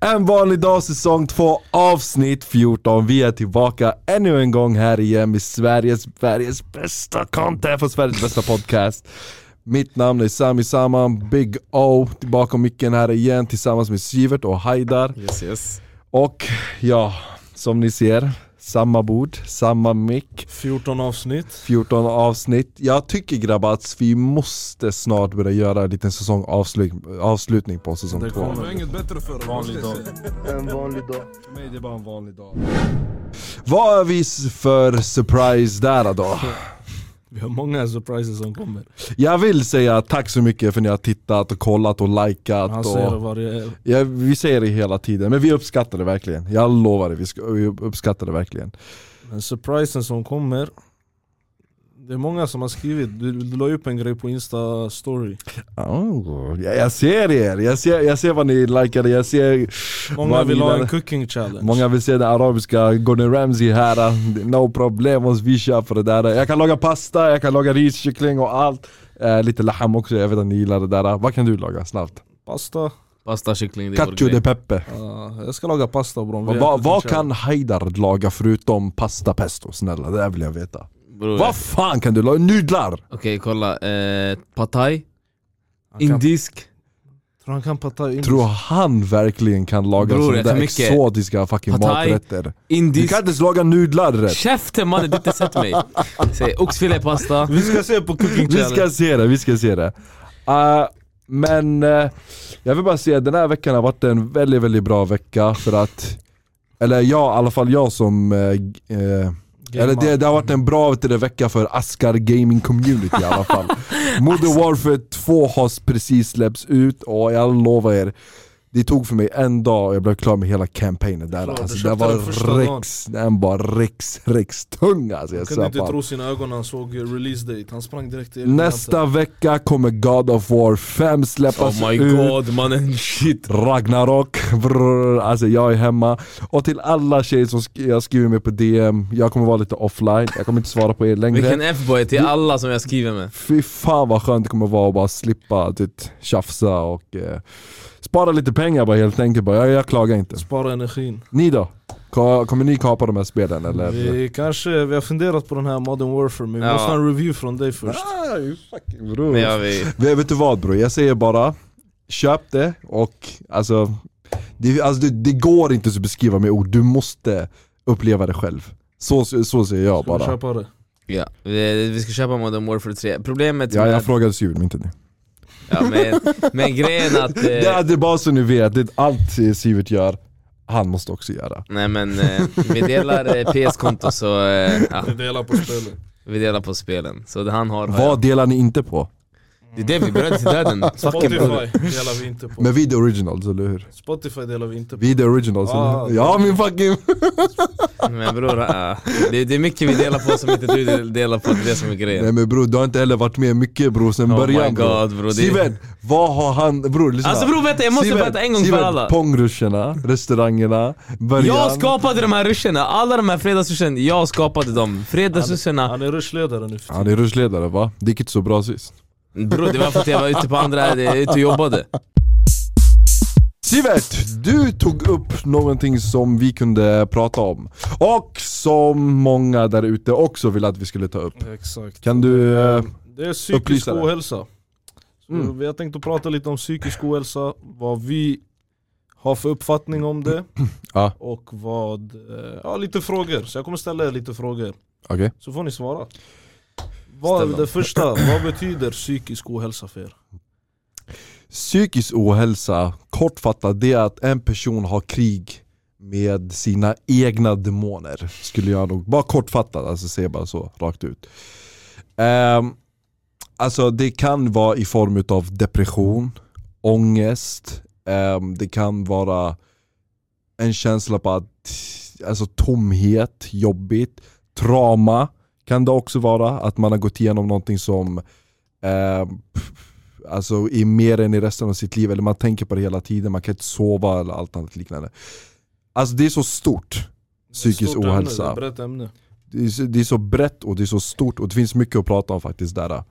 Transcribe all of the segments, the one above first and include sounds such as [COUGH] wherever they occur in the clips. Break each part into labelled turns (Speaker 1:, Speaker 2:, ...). Speaker 1: En vanlig dag säsong 2 avsnitt 14. Vi är tillbaka ännu en gång här igen med Sveriges, Sveriges bästa content för Sveriges bästa podcast. Mitt namn är Sami Saman, Big O, tillbaka micken här igen tillsammans med Sivert och Haidar.
Speaker 2: Yes, yes.
Speaker 1: Och ja, som ni ser, samma bord, samma mick.
Speaker 2: 14 avsnitt.
Speaker 1: 14 avsnitt. Jag tycker grabbar att vi måste snart börja göra en liten säsongavslutning avslutning på säsong
Speaker 2: Det
Speaker 1: 2.
Speaker 2: kommer inget bättre för Vanlig dag.
Speaker 3: [LAUGHS] En vanlig dag.
Speaker 2: För mig det är bara en vanlig dag.
Speaker 1: Vad är vi s- för surprise där då?
Speaker 2: Vi har många surprises som kommer.
Speaker 1: Jag vill säga tack så mycket för att ni har tittat och kollat och likat.
Speaker 2: Han
Speaker 1: Och,
Speaker 2: säger vad det är.
Speaker 1: ja, vi säger det hela tiden, men vi uppskattar det verkligen. Jag lovar det, vi, sk- vi uppskattar det verkligen.
Speaker 2: Men surprisen som kommer. Det är många som har skrivit. Du, du la upp en grej på Insta story.
Speaker 1: Oh, jag, jag ser er, jag ser, jag ser vad ni likade, jag ser...
Speaker 2: Många
Speaker 1: vad ni
Speaker 2: vill ha
Speaker 1: gillade.
Speaker 2: en cooking challenge.
Speaker 1: Många vill se den arabiska Gordon Ramsay här, no problem, vi kör på det där. Jag kan laga pasta, jag kan laga riskyckling och allt. Eh, lite laham också, jag vet att ni gillar det där. Vad kan du laga snabbt?
Speaker 2: Pasta.
Speaker 4: Pasta, kyckling, det är vår
Speaker 1: Cacio de
Speaker 4: grej.
Speaker 1: pepe.
Speaker 2: Ja, jag ska laga pasta bron. Vi
Speaker 1: Vad
Speaker 2: har
Speaker 1: va,
Speaker 2: cooking
Speaker 1: vad
Speaker 2: challenge.
Speaker 1: kan Haidar laga förutom pasta pesto? Snälla, det där vill jag veta.
Speaker 4: Bror.
Speaker 1: Vad fan kan du laga? Nudlar!
Speaker 4: Okej kolla, eh, pad thai,
Speaker 2: Han kan-
Speaker 4: indisk
Speaker 2: Tror han kan pata in?
Speaker 1: Tror han verkligen kan laga
Speaker 4: Bror,
Speaker 1: sådana
Speaker 4: jag
Speaker 1: där
Speaker 4: tar mycket.
Speaker 1: exotiska fucking
Speaker 4: Pad thai.
Speaker 1: maträtter? Du
Speaker 4: Indisk,
Speaker 1: kan inte ens laga nudlar rätt.
Speaker 4: käften mannen du har inte sett mig! Säg [LAUGHS] oxfilépasta,
Speaker 2: Vi ska se på
Speaker 1: [LAUGHS]
Speaker 2: cooking
Speaker 1: Vi
Speaker 2: challenge.
Speaker 1: ska se det, vi ska se det. Eh, men eh, jag vill bara säga att den här veckan har varit en väldigt, väldigt bra vecka för att eller jag, i alla fall jag som... eh, g- eh, eller det, det har varit en bra vet du, vecka för Askar Gaming Community i alla
Speaker 2: [LAUGHS]
Speaker 1: fall. Modern
Speaker 2: Alltså.
Speaker 1: Warfare 2 har precis släppts ut och jag lovar er, det tog för mig en dag och jag blev klar med hela campaignen där.
Speaker 2: Klart, du
Speaker 1: Alltså, det
Speaker 2: köpte den första
Speaker 1: var
Speaker 2: dagen.
Speaker 1: riks, den var riks, riks tung alltså. Jag
Speaker 2: Han
Speaker 1: svär
Speaker 2: kunde inte
Speaker 1: på allt.
Speaker 2: tro alltså. sina ögon när han såg release date. Han sprang direkt till
Speaker 1: Nästa vecka kommer God of War 5 släppas
Speaker 4: oh my
Speaker 1: ut.
Speaker 4: god mannen shit
Speaker 1: Ragnarok, brr, alltså jag är hemma. Och till alla tjejer som sk- jag skriver med på DM, jag kommer vara lite offline, jag kommer inte svara på er
Speaker 4: Vilken
Speaker 1: längre.
Speaker 4: F-boy till alla som jag skriver med
Speaker 1: Fy fan vad skönt det kommer vara att bara slippa typ, tjafsa och eh, spara lite pengar bara helt enkelt. Bara. Jag, jag klagar inte.
Speaker 2: Spara energin.
Speaker 1: Ni då? Ko- Kommer ni kapa de här spelen eller?
Speaker 2: Vi, kanske, vi har funderat på den här Modern Warfare men vi
Speaker 4: Ja.
Speaker 2: måste ha en review från dig först.
Speaker 1: Ah, you fucking bror.
Speaker 4: Men jag vet,
Speaker 1: Vet vet du vad bror, jag säger bara Köp det och alltså det, alltså, det, det går inte att beskriva med ord, du måste uppleva det själv Så, så säger jag
Speaker 2: Ska vi
Speaker 1: bara
Speaker 2: köpa det?
Speaker 4: ja. vi, vi ska köpa Modern Warfare 3 Problemet
Speaker 1: Ja,
Speaker 4: med,
Speaker 1: jag frågade Simon, inte ni.
Speaker 4: ja, men, men grejen [LAUGHS] att... eh,
Speaker 1: Det, är- det är bara så ni vet, det är allt eh, Sivert gör, han måste också göra.
Speaker 4: Nej men eh, vi delar eh, PS-konto så eh, ja,
Speaker 2: Vi delar på spelet.
Speaker 4: vi delar på spelen Så det han har har jag.
Speaker 1: Vad delar ni inte på?
Speaker 4: Det är det vi bröt till döden, fucking bror
Speaker 2: Spotify delar vi inte på.
Speaker 1: Men vi är the originals, eller hur?
Speaker 2: Spotify delar vi inte på.
Speaker 1: Vi är the originals, eller
Speaker 2: Ah.
Speaker 1: hur? Ja min fucking...
Speaker 4: Men bror, ja. det, det är mycket vi delar på som inte du delar på, det är det som är grejen
Speaker 1: Nej men bror, du har inte heller varit med mycket bror sen
Speaker 4: Oh
Speaker 1: början
Speaker 4: my
Speaker 1: bror.
Speaker 4: god bror, det-
Speaker 1: Sivert, vad har han... Bror lyssna.
Speaker 4: Alltså bror vänta, jag måste
Speaker 1: Sivert,
Speaker 4: berätta en gång
Speaker 1: Sivert,
Speaker 4: för alla
Speaker 1: Pongruscharna, restaurangerna, början.
Speaker 4: Jag skapade de här ruscherna, alla de här fredagsruscherna, jag skapade dem Fredagsruscherna,
Speaker 2: Han är rushledare nu för
Speaker 1: Han är ruschledare va? Det gick inte så bra sist.
Speaker 4: bror det var för att jag var ute på andra, eh, ute och jobbade
Speaker 1: Sivert, du tog upp någonting som vi kunde prata om. Och som många där ute också ville att vi skulle ta upp.
Speaker 2: tiden. Exakt.
Speaker 1: Kan du... eh,
Speaker 2: Det är psykisk
Speaker 1: upplysa dig.
Speaker 2: ohälsa. Så
Speaker 1: Mm.
Speaker 2: Vi har tänkt att prata lite om psykisk ohälsa, vad vi har för uppfattning om det
Speaker 1: [CLEARS THROAT] Ja.
Speaker 2: och vad... eh, Ja, lite frågor. Så jag kommer ställa er lite frågor.
Speaker 1: Okej.
Speaker 2: Så får ni svara. Vad,
Speaker 4: Ställ
Speaker 2: det
Speaker 4: dem.
Speaker 2: första, vad betyder psykisk ohälsa för er?
Speaker 1: Psykisk ohälsa, kortfattat, det är att en person har krig med sina egna demoner. Skulle jag nog, bara kortfattat, alltså säga bara så, rakt ut. Um, alltså det kan vara i form av depression, ångest, ehm, det kan vara en känsla på att, alltså tomhet, jobbigt, trauma kan det också vara, att man har gått igenom någonting som ehm, alltså, i mer än i resten av sitt liv, eller man tänker på det hela tiden, man kan inte sova eller allt annat liknande. Alltså det är så stort, psykisk
Speaker 2: Stort ämne,
Speaker 1: ohälsa.
Speaker 2: det är ett brett ämne.
Speaker 1: Det är, så, det är så brett och det är så stort och det finns mycket att prata om faktiskt där.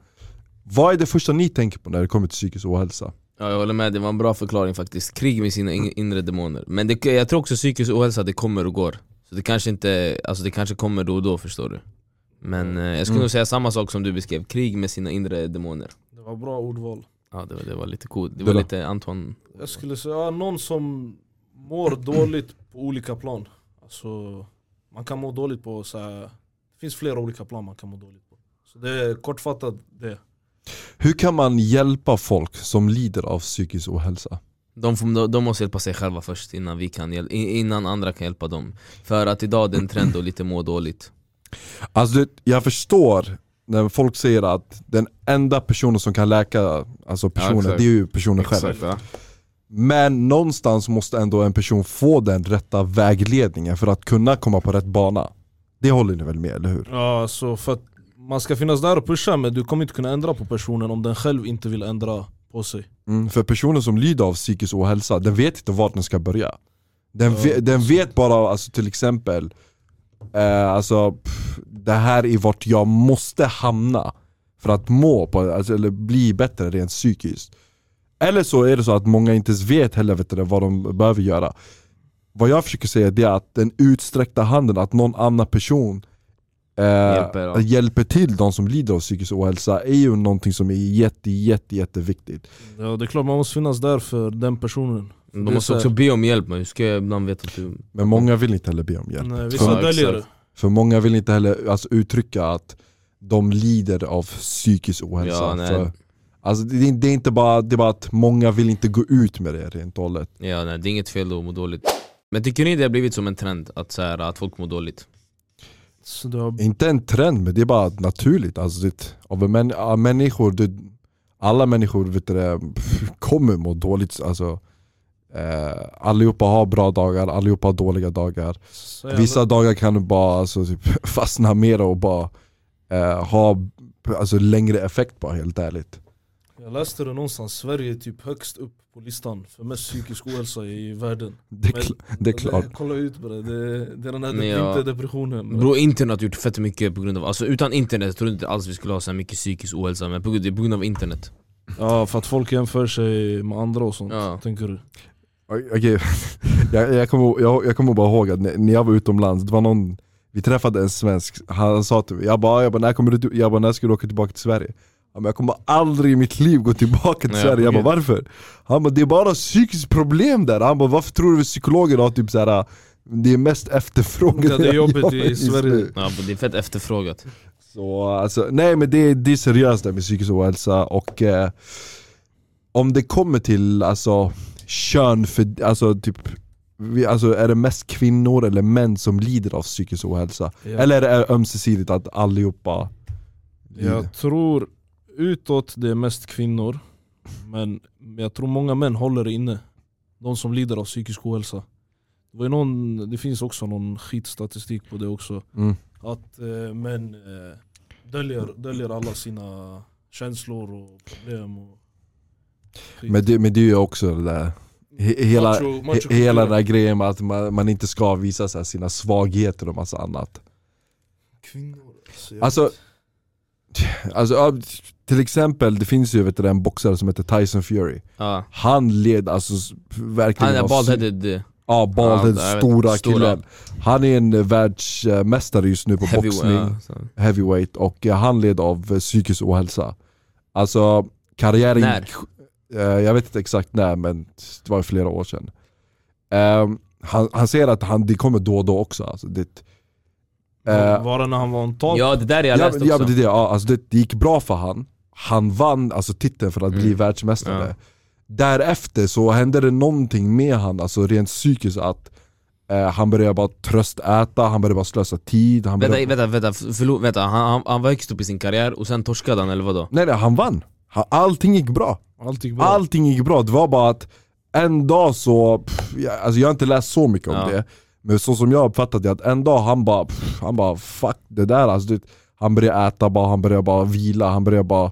Speaker 1: Vad är det första ni tänker på när det kommer till psykisk ohälsa?
Speaker 4: Ja, jag håller med, det var en bra förklaring faktiskt. Krig med sina in- inre demoner. Men det, jag tror också psykisk ohälsa, det kommer och går. Så det kanske, inte, alltså det kanske kommer då och då förstår du. Men eh, jag skulle
Speaker 1: Mm.
Speaker 4: nog säga samma sak som du beskrev, krig med sina inre demoner.
Speaker 2: Det var bra ordval.
Speaker 4: Ja det var, det var lite coolt, det
Speaker 1: Det
Speaker 4: var
Speaker 1: var-
Speaker 4: lite Anton...
Speaker 2: Jag skulle säga någon som mår dåligt på olika plan. Alltså, man kan må dåligt på så här, det finns flera olika plan man kan må dåligt på. Så det är kortfattat det.
Speaker 1: Hur kan man hjälpa folk som lider av psykisk ohälsa?
Speaker 4: De, får, de, de måste hjälpa sig själva först innan, vi kan, hjäl- in- innan andra kan hjälpa dem. För att idag det är en trend att lite må dåligt.
Speaker 1: Alltså det, jag förstår när folk säger att den enda personen som kan läka alltså personen,
Speaker 3: exakt.
Speaker 1: det är ju personen själv.
Speaker 3: Exakt, ja.
Speaker 1: Men någonstans måste ändå en person få den rätta vägledningen för att kunna komma på rätt bana. Det håller ni väl med, eller hur?
Speaker 2: Ja, så för att man ska finnas där och pusha men du kommer inte kunna ändra på personen om den själv inte vill ändra på sig.
Speaker 1: Mm, för personer som lider av psykisk ohälsa, den vet inte vart den ska börja. Den,
Speaker 2: Ja,
Speaker 1: ve- den vet bara alltså, till exempel, eh, alltså, pff, det här är vart jag måste hamna för att må, på, alltså, eller bli bättre rent psykiskt. Eller så är det så att många inte ens vet heller vet du, vad de behöver göra. Vad jag försöker säga det är att den utsträckta handen, att någon annan person eh,
Speaker 4: Hjälper, ja.
Speaker 1: hjälper till de som lider av psykisk ohälsa är ju någonting som är jätte, jätte, jätteviktigt.
Speaker 2: Ja, det är klart man måste finnas där för den personen.
Speaker 4: De
Speaker 2: Det är
Speaker 4: måste
Speaker 2: så här-
Speaker 4: också be om hjälp, men hur ska jag ibland veta att du...
Speaker 1: Men många vill inte heller be om hjälp.
Speaker 2: Nej,
Speaker 1: Ja,
Speaker 2: eh, vissa
Speaker 4: exakt.
Speaker 2: döljer det.
Speaker 1: För många vill inte heller alltså, uttrycka att de lider av psykisk ohälsa.
Speaker 4: Ja, nej.
Speaker 1: för, alltså, det, är- det är inte bara, det är bara att många vill inte gå ut med det rent och hållet.
Speaker 4: Ja, nej, det är inget fel att må dåligt. Men tycker ni det har blivit som en trend, att, så här, att folk mår dåligt?
Speaker 2: Så det har
Speaker 1: Inte en trend, men det är bara naturligt. Alltså, det, av en män, av människor, det, alla människor vet du, det, kommer må dåligt. Alltså, eh, allihopa har bra dagar, allihopa har dåliga dagar.
Speaker 2: säga-
Speaker 1: Vissa dagar kan du bara alltså, typ, [LAUGHS] fastna mer och bara eh, ha alltså, längre effekt bara helt ärligt.
Speaker 2: Jag läste det någonstans, Sverige är typ högst upp på listan för mest psykisk ohälsa i världen.
Speaker 1: Det är,
Speaker 2: Men-
Speaker 1: kl- det är klart.
Speaker 2: Kolla ut på det, det, det är den här
Speaker 4: Men jag-
Speaker 2: vinterdepressionen.
Speaker 4: Bro, internet har gjort fett mycket på grund av, alltså utan internet tror jag inte alls vi skulle ha så här mycket psykisk ohälsa men på, det är på grund av internet
Speaker 2: Ja, för att folk jämför sig med andra och sånt,
Speaker 4: Ja.
Speaker 2: tänker du?
Speaker 1: Okej, [LAUGHS] jag, jag, kommer, ihåg- jag, jag kommer bara ihåg att när när jag var utomlands, det var någon, vi träffade en svensk, han sa till mig, jag bara, jag bara, när, kommer du, jag bara när ska du åka tillbaka till Sverige? Han bara, jag kommer aldrig i mitt liv gå tillbaka till
Speaker 4: Nej,
Speaker 1: Sverige, jag
Speaker 4: okej.
Speaker 1: bara varför? Han bara, det är bara psykiskt problem där, han bara varför tror du psykologer har typ såhär, det är mest efterfrågan
Speaker 2: Ja, det är jobbigt i
Speaker 1: just
Speaker 2: Sverige.
Speaker 1: nu."
Speaker 4: Ja men det är fett efterfrågat
Speaker 1: Så alltså, nej men det, det är seriöst det med psykisk ohälsa och eh, om det kommer till alltså kön, för, alltså typ vi, alltså är det mest kvinnor eller män som lider av psykisk ohälsa?
Speaker 2: Ja.
Speaker 1: Eller är det ömsesidigt att allihopa lider?
Speaker 2: Jag tror utåt det är mest kvinnor, men men jag tror många män håller det inne. De som lider av psykisk ohälsa. Det, var ju någon, det finns också någon skitstatistik på det också.
Speaker 1: Mm.
Speaker 2: Att eh, män eh, döljer, döljer alla sina känslor och problem. Och skit.
Speaker 1: Men, det, men det är ju också det där he, hela,
Speaker 2: Macho- machokultur.
Speaker 1: he, hela den där grejen med att man, man inte ska visa så här, sina svagheter och massa annat
Speaker 2: Kvinnor alltså, jag
Speaker 1: Alltså-
Speaker 2: vet.
Speaker 1: Alltså ja, till exempel, det finns ju vet du, en boxare som heter Tyson Fury
Speaker 4: ja.
Speaker 1: Han led alltså s-
Speaker 4: Han
Speaker 1: verkligen
Speaker 4: är eh,
Speaker 1: av psy-
Speaker 4: baldheaded
Speaker 1: Ja, baldhead,
Speaker 4: Ja, jag vet.
Speaker 1: stora
Speaker 4: Stora.
Speaker 1: killen Han är en eh, världsmästare just nu på
Speaker 4: heavy
Speaker 1: boxning,
Speaker 4: ja, så.
Speaker 1: heavyweight och eh, han led av eh, psykisk ohälsa Alltså karriären
Speaker 4: När?
Speaker 1: gick- eh, Jag vet inte exakt när men det var flera år sedan Ehm, han, han säger att han, det kommer då och då också alltså, det, eh,
Speaker 2: Var det när han var en top?
Speaker 4: ja det där jag
Speaker 1: Ja,
Speaker 4: läst
Speaker 1: men, ja, men det,
Speaker 4: också
Speaker 1: är det, ja, alltså det, det gick bra för han. Han vann alltså titeln för att bli
Speaker 4: Mm.
Speaker 1: världsmästare.
Speaker 4: Ja.
Speaker 1: Därefter så hände det någonting med han, alltså rent psykiskt att eh, han började bara tröstäta, han började bara slösa tid. Han började...
Speaker 4: Vänta, vänta, vänta, förlåt, vänta. Han, han, han var högst upp i sin karriär och sen torskade han eller vadå?
Speaker 1: Nej nej, han vann. Han, allting gick bra.
Speaker 2: Allt gick bra.
Speaker 1: Allting gick bra, det var bara att en dag så, pff, jag, alltså jag har inte läst så mycket om
Speaker 4: Ja.
Speaker 1: det, men så som jag uppfattat det, att en dag han bara, pff, han bara fuck det där alltså, det, Han började äta bara, han började bara vila, han började bara...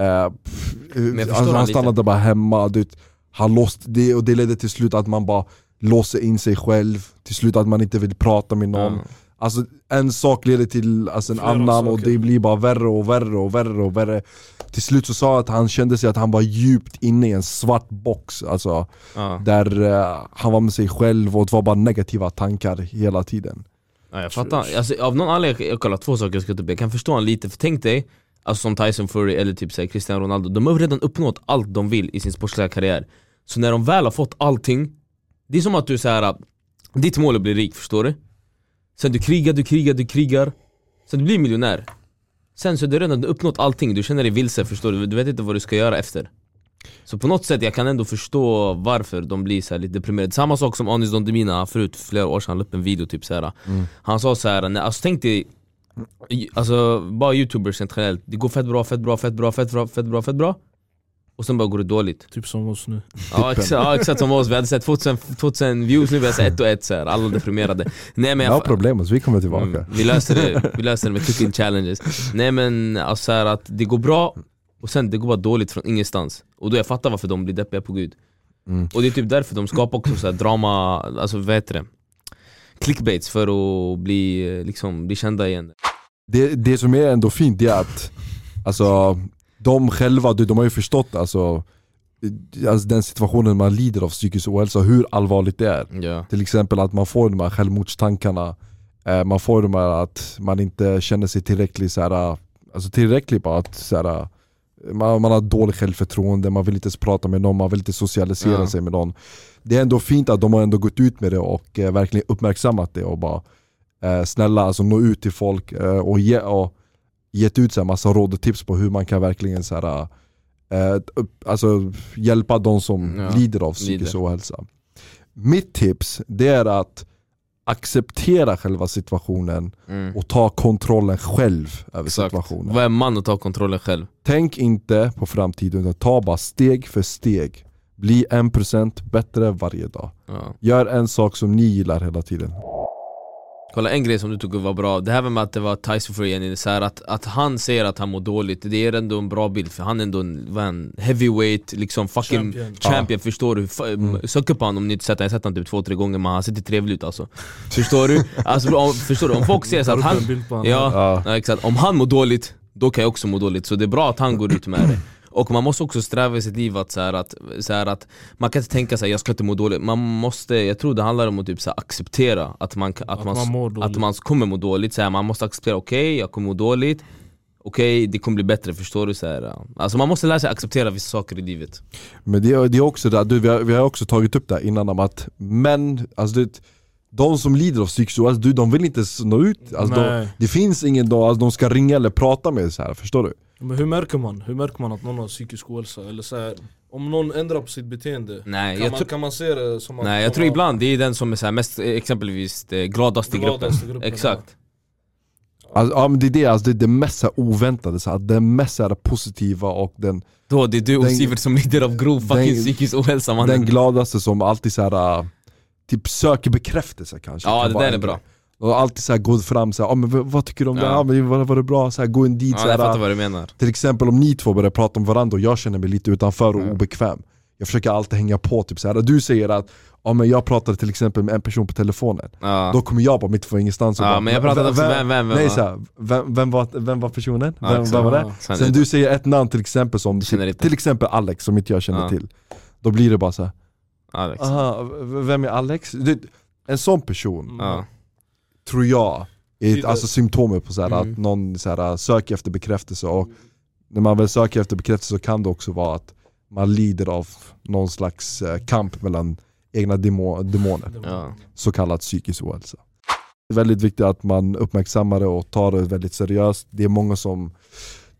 Speaker 1: Eh, pff,
Speaker 4: jag förstår
Speaker 1: alltså,
Speaker 4: han
Speaker 1: han
Speaker 4: lite.
Speaker 1: stannade bara hemma, du vet, han låst det och det ledde till slut att man bara låser in sig själv, till slut att man inte vill prata med någon.
Speaker 4: Ja.
Speaker 1: Alltså en sak leder till alltså, en
Speaker 2: Flera
Speaker 1: annan och
Speaker 2: saker.
Speaker 1: det blir bara värre och värre och värre och värre Till slut så sa jag att han kände sig att han var djupt inne i en svart box Alltså
Speaker 4: Ja,
Speaker 1: där eh, han var med sig själv och det var bara negativa tankar hela tiden
Speaker 4: ja jag fattar. Alltså, av någon anledning, jag kollar två saker jag ska ta upp. Jag kan förstå honom lite, för tänk dig Alltså som Tyson Fury eller typ så här, Cristiano Ronaldo, de har redan uppnått allt de vill i sin sportsliga karriär Så när de väl har fått allting, det är som att du så här ditt mål är att bli rik förstår du? Sen du krigar, du krigar, du krigar, sen du blir miljonär Sen så är du redan uppnått allting, du känner dig vilse förstår du, du vet inte vad du ska göra efter Så på något sätt, jag kan ändå förstå varför de blir så här lite deprimerade Samma sak som Anis Don Demina, förut flera år sedan, han la upp en video typ så här. Han sa så här, nej, alltså tänk dig Alltså bara youtubers generellt, det går fett bra, fett bra, fett bra, fett bra, fett bra, fett bra Och sen bara går det dåligt
Speaker 2: Typ som oss nu.
Speaker 4: Ja exakt, ja, exakt som oss, vi hade sett 2000, 2000 views nu, vi hade sett ett och ett så här. alla deprimerade Nej men
Speaker 1: Jag
Speaker 4: jag,
Speaker 1: har problem, så vi kommer tillbaka
Speaker 4: Mm, vi löser det, vi löser det med cooking challenges Nej men alltså så här att det går bra och sen det går bara dåligt från ingenstans Och då jag fattar varför de blir deppiga på gud
Speaker 1: Mm.
Speaker 4: Och det är typ därför de skapar också så här drama, alltså vad heter det? Clickbaits för att bli, eh, liksom, bli kända igen
Speaker 1: det, det som är ändå fint det är att alltså, de själva, du, de har ju förstått alltså, alltså den situationen man lider av psykisk ohälsa, hur allvarligt det är.
Speaker 4: Ja,
Speaker 1: Till exempel att man får de här självmordstankarna, eh, man får de här att man inte känner sig tillräckligt så här, alltså tillräckligt bara att så här, man, man har dåligt självförtroende, man vill inte ens prata med någon, man vill inte socialisera
Speaker 4: Ja.
Speaker 1: sig med någon. Det är ändå fint att de har ändå gått ut med det och eh, verkligen uppmärksammat det och bara eh, snälla alltså nå ut till folk eh, och, ge, och gett ut så här massa råd och tips på hur man kan verkligen så här, eh, upp- alltså, hjälpa de som
Speaker 4: Ja,
Speaker 1: lider av psykisk
Speaker 4: lider.
Speaker 1: ohälsa. Mitt tips det är att acceptera själva situationen
Speaker 4: mm.
Speaker 1: och ta kontrollen själv över
Speaker 4: exakt
Speaker 1: situationen.
Speaker 4: Vad är man att ta kontrollen själv?
Speaker 1: Tänk inte på framtiden utan ta bara steg för steg. Bli 1% bättre varje dag.
Speaker 4: Ja.
Speaker 1: Gör en sak som ni gillar hela tiden.
Speaker 4: Kolla en grej som du tog upp var bra, det här med att det var Tyson Fury igen, så här att, att han säger att han mår dåligt, det är ändå en bra bild för han är ändå en, vad är han, heavyweight, liksom fucking champion,
Speaker 2: Champion.
Speaker 4: förstår du? F-
Speaker 2: Mm.
Speaker 4: Sök upp honom om ni inte sett honom, jag har sett honom typ två, tre gånger men han ser inte trevlig
Speaker 2: [LAUGHS]
Speaker 4: ut alltså Förstår du? Alltså, om, förstår du? Om folk ser så
Speaker 2: Tar
Speaker 4: att
Speaker 2: upp
Speaker 4: han,
Speaker 2: en bild på honom.
Speaker 4: ja,
Speaker 1: Ja.
Speaker 4: Ja, exakt. Om han mår dåligt, då kan jag också må dåligt. Så det är bra att han går ut med det. Och man måste också sträva i sitt liv att, så här, att, så här, att man kan inte tänka sig jag ska inte må dåligt. Man måste, jag tror det handlar om att typ, så här, acceptera att man, att
Speaker 2: Att
Speaker 4: man,
Speaker 2: man mår dåligt.
Speaker 4: att man kommer må dåligt. Så här, man måste acceptera, okej jag kommer må dåligt, okej det kommer bli bättre, förstår du? Så här, ja. alltså man måste lära sig acceptera vissa saker i livet.
Speaker 1: Men det, är- det är också det, här, du, vi, har, vi har också tagit upp det här innan om att män, alltså du, vet, de som lider av psykisk ohälsa, du, de vill inte ens nå ut. Alltså, de,
Speaker 2: Nej.
Speaker 1: det finns ingen dag alltså, de ska ringa eller prata med så här, förstår du?
Speaker 2: Men hur märker man? Hur märker man att någon har psykisk ohälsa? Eller så här, om någon ändrar på sitt beteende,
Speaker 4: Nej,
Speaker 2: kan,
Speaker 4: jag,
Speaker 2: man,
Speaker 4: tror-
Speaker 2: kan man se det som att
Speaker 4: nej,
Speaker 2: de
Speaker 4: jag tror
Speaker 2: har
Speaker 4: ibland det är den som är så här, mest, eh, exempelvis eh, gladaste i gruppen.
Speaker 2: gladaste gruppen?
Speaker 4: Exakt.
Speaker 1: Alltså, ja, men det är det, alltså, det, är det mest så här oväntade, så här, det mest så här, positiva och den,
Speaker 4: Då det är du och
Speaker 1: Den-
Speaker 4: Sivert som lider av grov fucking
Speaker 1: den-
Speaker 4: psykisk ohälsa mannen.
Speaker 1: den gladaste som alltid så här, äh, typ söker bekräftelse kanske.
Speaker 4: Ja
Speaker 1: Kan
Speaker 4: det
Speaker 1: vara
Speaker 4: där är
Speaker 1: en
Speaker 4: bra,
Speaker 1: grej. Och alltid så här, går fram så här, ah, men v- vad tycker du om det
Speaker 4: Ja.
Speaker 1: här? Ja, men var, var det bra? Så här, gå in dit så
Speaker 4: ja,
Speaker 1: här,
Speaker 4: jag fattar vad du menar
Speaker 1: Till exempel om ni två börjar prata om varandra och jag känner mig lite utanför och obekväm. Jag försöker alltid hänga på, typ så här. du säger att ja, men jag pratade till exempel med en person på telefonen.
Speaker 4: ja.
Speaker 1: Då kommer jag bara mitt från ingenstans och
Speaker 4: Ja,
Speaker 1: bara,
Speaker 4: men jag pratade också, vem- vem- vem
Speaker 1: nej,
Speaker 4: var-
Speaker 1: så här, vem, vem, var, vem var personen?
Speaker 4: Ja,
Speaker 1: vem,
Speaker 4: exakt.
Speaker 1: vem var det?
Speaker 2: Ja.
Speaker 4: Sen-
Speaker 1: Sen du säger ett namn till exempel som,
Speaker 4: Känner inte.
Speaker 1: till exempel Alex som inte jag känner
Speaker 4: Ja.
Speaker 1: till. Då blir det bara så här,
Speaker 4: Alex
Speaker 1: aha, v- vem är Alex? Du, en sån person
Speaker 2: Mm.
Speaker 4: ja.
Speaker 1: tror jag är ett,
Speaker 2: Det-
Speaker 1: alltså symptomet på så här,
Speaker 4: Mm.
Speaker 1: att någon så här, äh, söker efter bekräftelse och när man väl söker efter bekräftelse så kan det också vara att man lider av någon slags eh, kamp mellan egna demo, demoner,
Speaker 4: Ja.
Speaker 1: så kallad psykisk ohälsa. Det är väldigt viktigt att man uppmärksammar det och tar det väldigt seriöst. Det är många som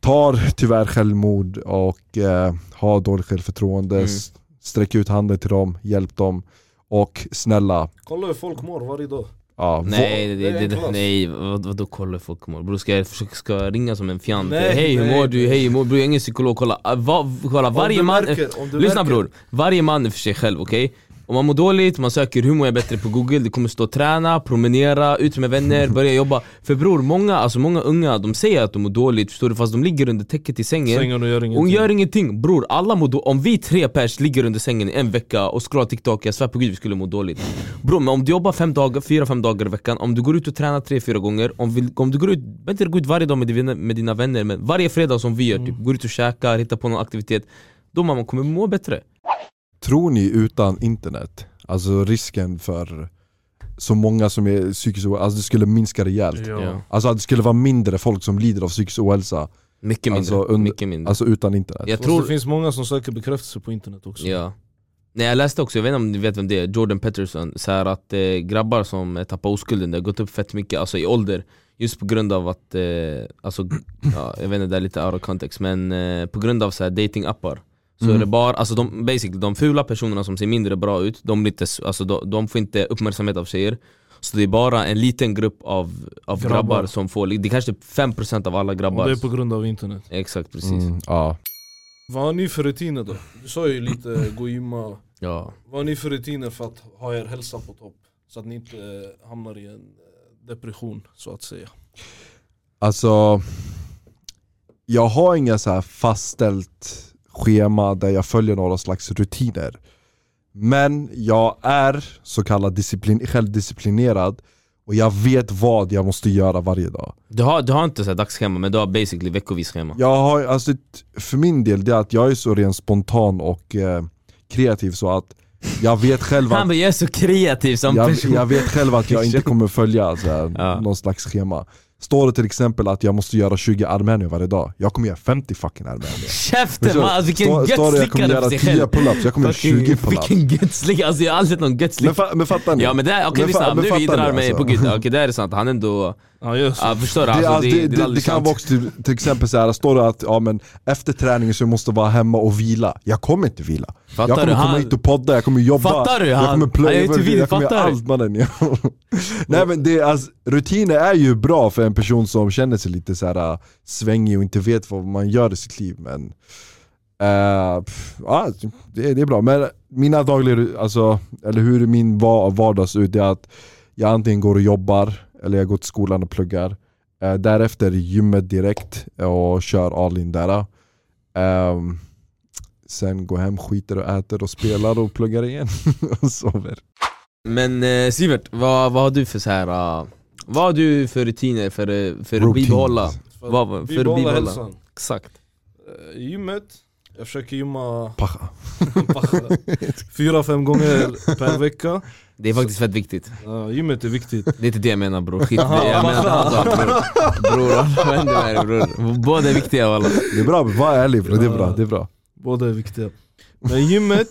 Speaker 1: tar tyvärr självmord och eh, har dåligt självförtroende.
Speaker 4: Mm.
Speaker 1: S- Sträck ut handen till dem, hjälp dem och snälla,
Speaker 2: Kolla hur folk mår varje dag.
Speaker 1: ja,
Speaker 4: Nej, det,
Speaker 2: det är
Speaker 4: det,
Speaker 2: en
Speaker 4: det,
Speaker 2: klass.
Speaker 4: nej vad, vadå kolla hur folk mår? Bror ska jag försöka ska jag ringa som en fjant?
Speaker 2: Nej,
Speaker 4: hej hur
Speaker 2: nej,
Speaker 4: mår du?
Speaker 2: nej.
Speaker 4: Hej hur mår du? Bror jag är ingen psykolog, kolla, Ah, va, kolla
Speaker 2: Om
Speaker 4: varje
Speaker 2: du
Speaker 4: man
Speaker 2: märker- om du
Speaker 4: Lyssna
Speaker 2: märker-
Speaker 4: bror, varje man är för sig själv okej? Om man mår dåligt, man söker hur mår jag bättre på google, det kommer stå träna, promenera, ut med vänner, börja jobba. För bror, många, alltså många unga de säger att de mår dåligt, förstår du? Fast de ligger under täcket i sängen.
Speaker 2: Sängen och gör
Speaker 4: Hon
Speaker 2: ingenting.
Speaker 4: gör ingenting bror, alla mår då- Om vi tre pers ligger under sängen i en vecka och scrollar TikTok, jag svär på gud vi skulle må dåligt Bror men om du jobbar fem dagar, fyra, fem dagar i veckan, om du går ut och tränar tre, fyra gånger Om, vi, om du går ut, inte gå ut varje dag med, din, med dina vänner men varje fredag som vi gör, typ, går ut och käkar, hittar på någon aktivitet Då man kommer må bättre
Speaker 1: Tror ni utan internet, alltså risken för så många som är psykiskt ohälsa, alltså det skulle minska rejält?
Speaker 4: Ja.
Speaker 1: Alltså att det skulle vara mindre folk som lider av psykisk ohälsa,
Speaker 4: Mycket mindre,
Speaker 1: Alltså, under-
Speaker 4: mycket mindre
Speaker 1: alltså utan internet.
Speaker 4: Jag
Speaker 2: Jag tror...
Speaker 4: tror,
Speaker 2: Det finns många som söker bekräftelse på internet också.
Speaker 4: ja Nej jag läste också, jag vet inte om ni vet vem det är, Jordan Peterson Så här att eh, grabbar som eh, tappar oskulden, det har gått upp fett mycket alltså i ålder Just på grund av att, eh, alltså, [CLEARS THROAT] ja, jag vet inte, det är lite out of context men eh, på grund av så här datingappar så
Speaker 1: Mm.
Speaker 4: är det bara, alltså de, basically, de fula personerna som ser mindre bra ut, de, blir inte, s- alltså, de, de får inte uppmärksamhet av tjejer Så det är bara en liten grupp av, av grabbar.
Speaker 2: Grabbar.
Speaker 4: som får, det är kanske 5% av alla grabbar
Speaker 2: Och det är på grund av internet.
Speaker 4: Exakt precis,
Speaker 1: Mm, ja.
Speaker 2: Vad har ni för rutiner då? Du sa ju lite gå och gymma.
Speaker 4: ja
Speaker 2: Vad har ni för rutiner för att ha er hälsa på topp? Så att ni inte eh, hamnar i en eh, depression så att säga.
Speaker 1: Alltså, jag har inga så här fastställt schema där jag följer några slags rutiner. Men jag är så kallad disciplin- självdisciplinerad och jag vet vad jag måste göra varje dag.
Speaker 4: Du har, du har inte så här dagsschema men du har basically veckovis schema
Speaker 1: Jag har, alltså, ett- för min del, det är att jag är så rent spontan och eh, kreativ så att jag vet själv att
Speaker 4: Han bara, jag är så kreativ som
Speaker 1: jag,
Speaker 4: person
Speaker 1: jag vet själv att jag
Speaker 4: [LAUGHS]
Speaker 1: inte kommer följa så här,
Speaker 4: Ja.
Speaker 1: någon slags schema. Står det till exempel att jag måste göra 20 armenier varje dag, jag kommer göra 50 fucking armenier.
Speaker 4: Käften man, alltså, vilken
Speaker 1: Står- står
Speaker 4: gött
Speaker 1: det jag kommer
Speaker 4: slickare
Speaker 1: göra
Speaker 4: på sig
Speaker 1: 10
Speaker 4: själv
Speaker 1: pull-ups, jag kommer göra 20
Speaker 4: Fucking-
Speaker 1: pull-ups.
Speaker 4: Vilken gött slickare, alltså jag har aldrig sett någon gött
Speaker 1: Men,
Speaker 4: slickare
Speaker 1: fa- men fattar ni?
Speaker 4: Ja men det här, okej
Speaker 1: Men fa-
Speaker 4: lyssna,
Speaker 1: men
Speaker 4: nu
Speaker 1: fattar
Speaker 4: vidrar
Speaker 1: ni,
Speaker 4: mig
Speaker 1: alltså?
Speaker 4: på
Speaker 1: [LAUGHS]
Speaker 4: gud, okej det här är sant, han ändå,
Speaker 2: Ja just
Speaker 4: ah, förstår du?
Speaker 1: det,
Speaker 4: Alltså,
Speaker 1: alltså, det, det, det,
Speaker 4: aldrig
Speaker 1: kan
Speaker 4: sant.
Speaker 1: vara också till, till exempel så här, står det att ja, men efter träningen så måste jag vara hemma och vila. Jag kommer inte vila.
Speaker 4: Fattar
Speaker 1: jag kommer
Speaker 4: du?
Speaker 1: komma
Speaker 4: Han-
Speaker 1: hit och podda, jag kommer jobba,
Speaker 4: Fattar du?
Speaker 1: jag
Speaker 4: Han-
Speaker 1: kommer
Speaker 4: han är
Speaker 1: plöja
Speaker 4: ju
Speaker 1: över
Speaker 4: till
Speaker 1: det, jag kommer
Speaker 4: fattar
Speaker 1: göra
Speaker 4: du?
Speaker 1: allt mannen. [LAUGHS] Ja. Nej men det, är alltså, rutiner är ju bra för en person som känner sig lite så här äh, svängig och inte vet vad man gör i sitt liv. Men, eh, pff, ja, det, är- det är bra. Men mina dagliga, ru- alltså, eller hur min va- vardag ser ut, det är att jag antingen går och jobbar, eller jag går till skolan och pluggar. Eh, därefter gymmet direkt och kör all in där. Ehm, sen går hem, skiter och äter och spelar och pluggar igen [LAUGHS] och sover.
Speaker 4: Men eh, Sivert, vad, vad har du för så här ah, vad har du för rutiner för, eh, för att
Speaker 1: Routines.
Speaker 4: bibehålla?
Speaker 2: För
Speaker 4: Vad- för att bibehålla.
Speaker 2: hälsan.
Speaker 4: Exakt
Speaker 2: Eh, Gymmet, jag försöker gymma
Speaker 1: Pacha.
Speaker 2: [LAUGHS] fyra, fem gånger per vecka.
Speaker 4: Det är faktiskt fett viktigt,
Speaker 2: Ja, gymmet är viktigt.
Speaker 4: det är inte det jag menar bror, skit [LAUGHS] jag menar inte alls allt, bror Bror, vad händer med dig bror? Båda är viktiga walla
Speaker 1: Det är bra, var ärlig bro. det är bra, det är bra.
Speaker 2: Båda är viktiga. Men gymmet,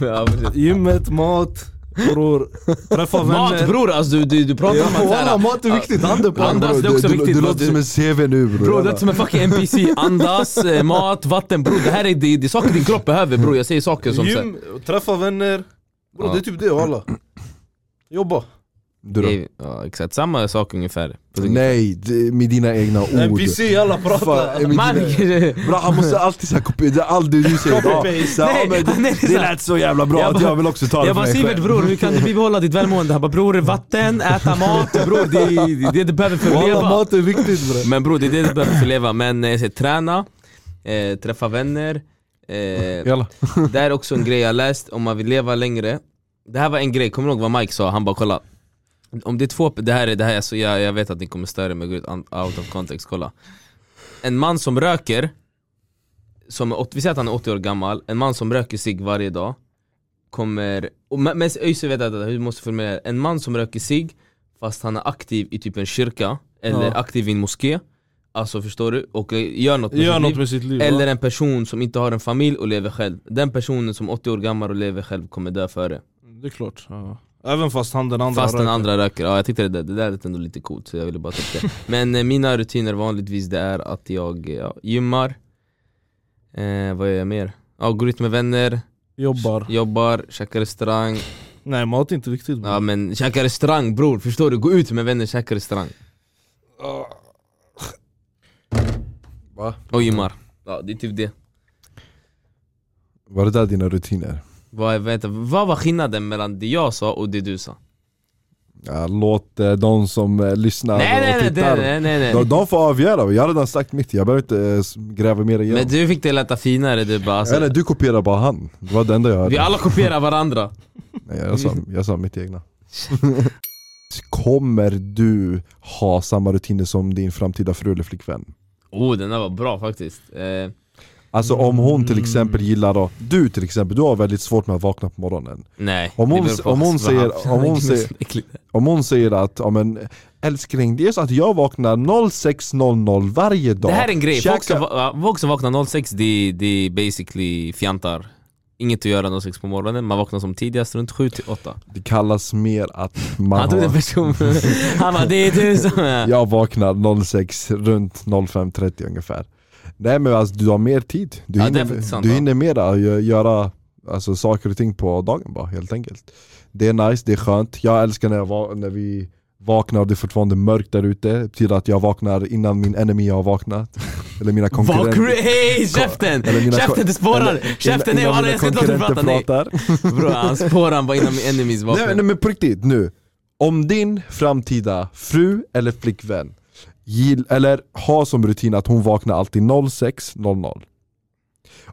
Speaker 4: Ja, precis.
Speaker 2: gymmet, mat, bror, träffa
Speaker 4: Mat
Speaker 2: vänner.
Speaker 4: bror, alltså, du, du, du pratar om att så här,
Speaker 1: mat är viktigt, handen
Speaker 4: på Andas, det är
Speaker 1: du,
Speaker 4: också
Speaker 1: du,
Speaker 4: viktigt,
Speaker 1: du
Speaker 4: bro.
Speaker 1: låter
Speaker 4: Du-
Speaker 1: som en CV nu bro.
Speaker 4: Bro, det är som en fucking NPC, andas, eh, mat, vatten bror Det här är, det, det är saker din kropp behöver bror, jag säger saker som så-
Speaker 2: Gym, träffa vänner. Bror
Speaker 4: Ja.
Speaker 2: det är typ det alla. Jobba.
Speaker 1: du, då?
Speaker 4: Det är- Ja, exakt, samma sak ungefär
Speaker 1: Nej, det- med dina egna ord.
Speaker 2: NPC, Eh, alla pratar.
Speaker 1: Fan, med
Speaker 4: Man,
Speaker 1: dina-
Speaker 4: [LAUGHS]
Speaker 1: Bra, han måste alltid såhär kopiera, det är allt det du säger idag.
Speaker 2: Copy-paste.
Speaker 1: Så här,
Speaker 4: Nej,
Speaker 1: ja, men det-
Speaker 4: nej, det är
Speaker 1: Det
Speaker 4: så här.
Speaker 1: lät så jävla bra
Speaker 4: Jag
Speaker 1: att
Speaker 4: bara-
Speaker 1: jag vill också ta det
Speaker 4: jag
Speaker 1: för
Speaker 4: bara
Speaker 1: mig
Speaker 4: Sivert
Speaker 1: själv.
Speaker 4: bror, hur kan du bibehålla ditt välmående? Han bara bror, vatten, äta mat, bror det är det du behöver för att
Speaker 1: Walla,
Speaker 4: leva
Speaker 1: mat är viktigt bre.
Speaker 4: Men bror det är det du behöver för att leva, men eh, jag säger, träna, eh, träffa vänner eh,
Speaker 1: Jalla.
Speaker 4: Det här är också en grej jag läst, om man vill leva längre Det här var en grej, kommer du ihåg vad Mike sa? Han bara kolla Om det är två, det här är, det här är så jag, jag vet att ni kommer störa mig, gud, un- out of context, kolla En man som röker, som är, åt- vi säger att han är 80 år gammal, en man som röker cigg varje dag Kommer, och men men ÖIS vet jag hur måste jag formulera det? En man som röker cigg fast han är aktiv i typ en kyrka, eller
Speaker 2: Ja.
Speaker 4: aktiv i en moské Alltså förstår du? Och eh, gör något med
Speaker 2: Gör
Speaker 4: sitt liv.
Speaker 2: något med sitt liv.
Speaker 4: Eller
Speaker 2: Eller...
Speaker 4: en person som inte har en familj och lever själv. Den personen som är 80 år gammal och lever själv kommer dö före.
Speaker 2: Det är klart. Ja. Även fast han den andra
Speaker 4: Fast den
Speaker 2: röker.
Speaker 4: andra röker. Ja, jag tyckte det där, det där lät ändå lite coolt så jag ville bara ta upp det. Men eh, mina rutiner vanligtvis det är att jag eh, ja, gymmar, eh, vad gör jag mer? Ja, går ut med vänner,
Speaker 2: Jobbar.
Speaker 4: jobbar, käkar restaurang.
Speaker 2: Nej mat är inte viktigt.
Speaker 4: Ja
Speaker 2: Ja.
Speaker 4: men käkar restaurang bror, förstår du? Gå ut med vänner, käka restaurang.
Speaker 1: Va?
Speaker 4: Och gymmar. Ja det är typ det.
Speaker 1: Var det där dina rutiner?
Speaker 4: Vad, är, vänta, vad var skillnaden mellan det jag sa och det du sa?
Speaker 1: Ja, låt eh, de som eh, lyssnar
Speaker 4: nej, nej,
Speaker 1: och
Speaker 4: nej,
Speaker 1: tittar,
Speaker 4: nej, nej, nej,
Speaker 1: De, de får avgöra, jag har redan sagt mitt, jag behöver inte eh, s- gräva mer igenom
Speaker 4: Men du fick det låta finare du bara alltså,
Speaker 1: Eller du kopierar bara han, det var det enda jag hörde
Speaker 4: Vi alla
Speaker 1: [LAUGHS]
Speaker 4: kopierar varandra
Speaker 1: Nej, jag,
Speaker 4: [LAUGHS]
Speaker 1: sa, jag sa mitt egna Kommer du ha samma rutiner som din framtida fru eller flickvän?
Speaker 4: Oh den där var bra faktiskt eh,
Speaker 1: Alltså om hon till
Speaker 2: Mm.
Speaker 1: exempel gillar då, du till exempel, du har väldigt svårt med att vakna på morgonen
Speaker 4: Nej
Speaker 1: Om hon-
Speaker 4: det beror på
Speaker 1: om hon
Speaker 4: vad
Speaker 1: säger-
Speaker 4: han-
Speaker 1: om hon
Speaker 4: Det är
Speaker 1: säger-
Speaker 4: äckligt.
Speaker 1: Om hon säger att, ja men älskling, det är så att jag vaknar 06.00 varje dag
Speaker 4: Det här är en grej, folk som,
Speaker 1: Käka-
Speaker 4: va- folk som vaknar 06 de, de basically fjantar Inget att göra 06 på morgonen, man vaknar som tidigast runt 7 till 8
Speaker 1: Det kallas mer att man
Speaker 4: Han tog den
Speaker 1: har,
Speaker 4: person,
Speaker 1: [LAUGHS]
Speaker 4: han bara det är du som är
Speaker 1: jag vaknar 06 runt 05.30 ungefär Nej men alltså du har mer tid, du
Speaker 4: Ja, det är faktiskt
Speaker 1: hinner,
Speaker 4: sant,
Speaker 1: du
Speaker 4: ja.
Speaker 1: hinner mera gö- göra alltså, saker och ting på dagen bara helt enkelt Det är nice, det är skönt, jag älskar när, jag va- när vi vaknar och det är fortfarande mörkt där ute Det betyder att jag vaknar innan min enemy har vaknat Eller mina
Speaker 4: Vad
Speaker 1: konkurrenter
Speaker 4: cre- Hej käften!
Speaker 1: Eller mina
Speaker 4: Käften du spårar! Käften nej
Speaker 1: innan
Speaker 4: alla
Speaker 1: mina
Speaker 4: jag ska inte låta dig prata,
Speaker 1: konkurrenter
Speaker 4: nej!
Speaker 1: pratar
Speaker 4: Bror han spårar han bara innan
Speaker 1: [LAUGHS]
Speaker 4: min enemies
Speaker 1: Nej,
Speaker 4: vaknar
Speaker 1: men- nej men på riktigt nu, om din framtida fru eller flickvän gill, eller har som rutin att hon vaknar alltid 06.00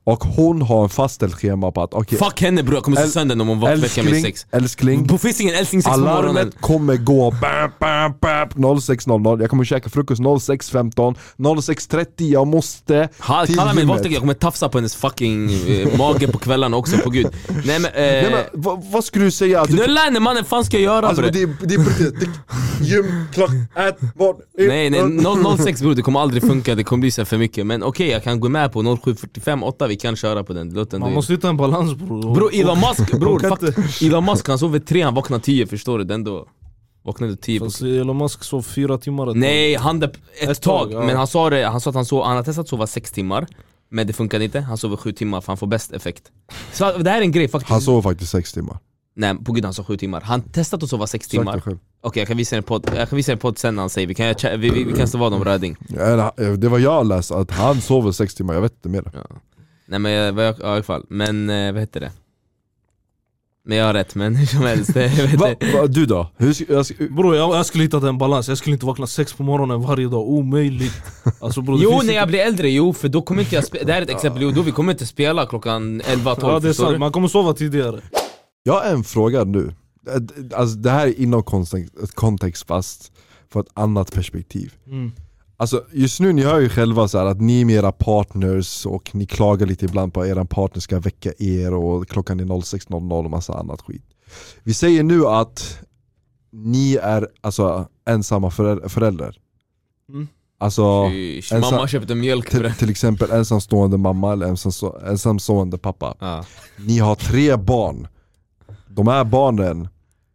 Speaker 1: och hon har en fastställd schema på att okej
Speaker 4: Fuck henne bror, jag kommer slå
Speaker 1: Äl-
Speaker 4: sönder honom om hon väcker mig
Speaker 1: älskling,
Speaker 4: sex
Speaker 1: älskling
Speaker 4: På Fissingen, älskling sex på morgonen
Speaker 1: Alarmet kommer gå bam, bam, bam, 06.00, jag kommer käka frukost 06.15, 06.30, jag måste
Speaker 4: Ha,
Speaker 1: till
Speaker 4: kalla mig
Speaker 1: gymmet.
Speaker 4: vad jag kommer tafsa på hennes fucking eh, mage på kvällarna också på gud Nej men, eh,
Speaker 1: Nej, men, vad, vad skulle du säga? Att du,
Speaker 4: knulla henne mannen, fan ska jag göra
Speaker 1: alltså,
Speaker 4: bre?
Speaker 1: det, är- det är på riktigt, Det- gym, klock, ät, bort, ut,
Speaker 4: Nej nej,
Speaker 1: ut.
Speaker 4: 006 bror det kommer aldrig funka, det kommer bli så här för mycket Men okej jag kan gå med på 07.45, 8 vi kan köra på den, låt den
Speaker 2: Man
Speaker 4: dö.
Speaker 2: måste hitta en balans bror.
Speaker 4: Bror Elon
Speaker 1: [LAUGHS]
Speaker 4: Musk, bror,
Speaker 2: kan inte-
Speaker 4: fuck, Elon Musk han sover 3, han vaknar 10 förstår du, den då Vaknade 10 på
Speaker 2: Fast Alltså, Elon Musk sov fyra timmar ett
Speaker 4: Nej, han dep- ett,
Speaker 2: Ett tag,
Speaker 4: tag,
Speaker 2: ja.
Speaker 4: men han sa, det, han sa att han, sov, han har testat att sova sex timmar Men det funkade inte, han sover sju timmar för han får bäst effekt Så det här är en grej faktiskt
Speaker 1: Han sov faktiskt sex timmar,
Speaker 4: Nej på gud han sa sju timmar, han testat att sova sex
Speaker 1: sagt
Speaker 4: timmar
Speaker 1: det
Speaker 4: Okej
Speaker 1: själv
Speaker 4: jag kan visa en podd, jag kan visa en podd sen när han säger, vi kan, jag, vi, vi, vi kan stå vad om Röding
Speaker 1: Ja, eh, Det var jag läste, att han sover sex timmar, jag vet inte mer
Speaker 4: Nej men jag, vad jag, ja, i alla fall, men eh, vad heter det? Men jag har rätt men hur som helst, det, jag vet
Speaker 1: Va,
Speaker 4: inte.
Speaker 1: va, Du då? Hur, ska- jag, ska-
Speaker 2: Bror jag, jag skulle hitta en balans, jag skulle inte vakna sex på morgonen varje dag,
Speaker 4: [LAUGHS]
Speaker 2: omöjligt alltså, bror, det
Speaker 4: Jo
Speaker 2: finns
Speaker 4: när
Speaker 2: inte-
Speaker 4: jag blir äldre, jo för då kommer inte jag spela, det här är ett exempel, jo då vi kommer inte spela klockan 11-12
Speaker 2: Ja det är
Speaker 4: förstår
Speaker 2: sant,
Speaker 4: du?
Speaker 2: man kommer sova tidigare
Speaker 1: jag har en fråga nu, alltså, det här är inom kontext, kontext fast för ett annat perspektiv
Speaker 2: mm.
Speaker 1: Alltså just nu, ni hör ju själva så här att ni är med era partners och ni klagar lite ibland på att er partner ska väcka er och klockan är 06.00 och massa annat skit. Vi säger nu att ni är alltså ensamma föräl- föräldrar.
Speaker 2: Mm.
Speaker 1: Alltså,
Speaker 4: Fysch,
Speaker 1: en
Speaker 4: mamma
Speaker 1: sån-
Speaker 4: köpte mjölk bre
Speaker 1: till,
Speaker 2: Typ.
Speaker 1: till exempel ensamstående mamma eller ensamstå- ensamstående pappa.
Speaker 4: ja.
Speaker 1: Ni har tre barn. De här barnen,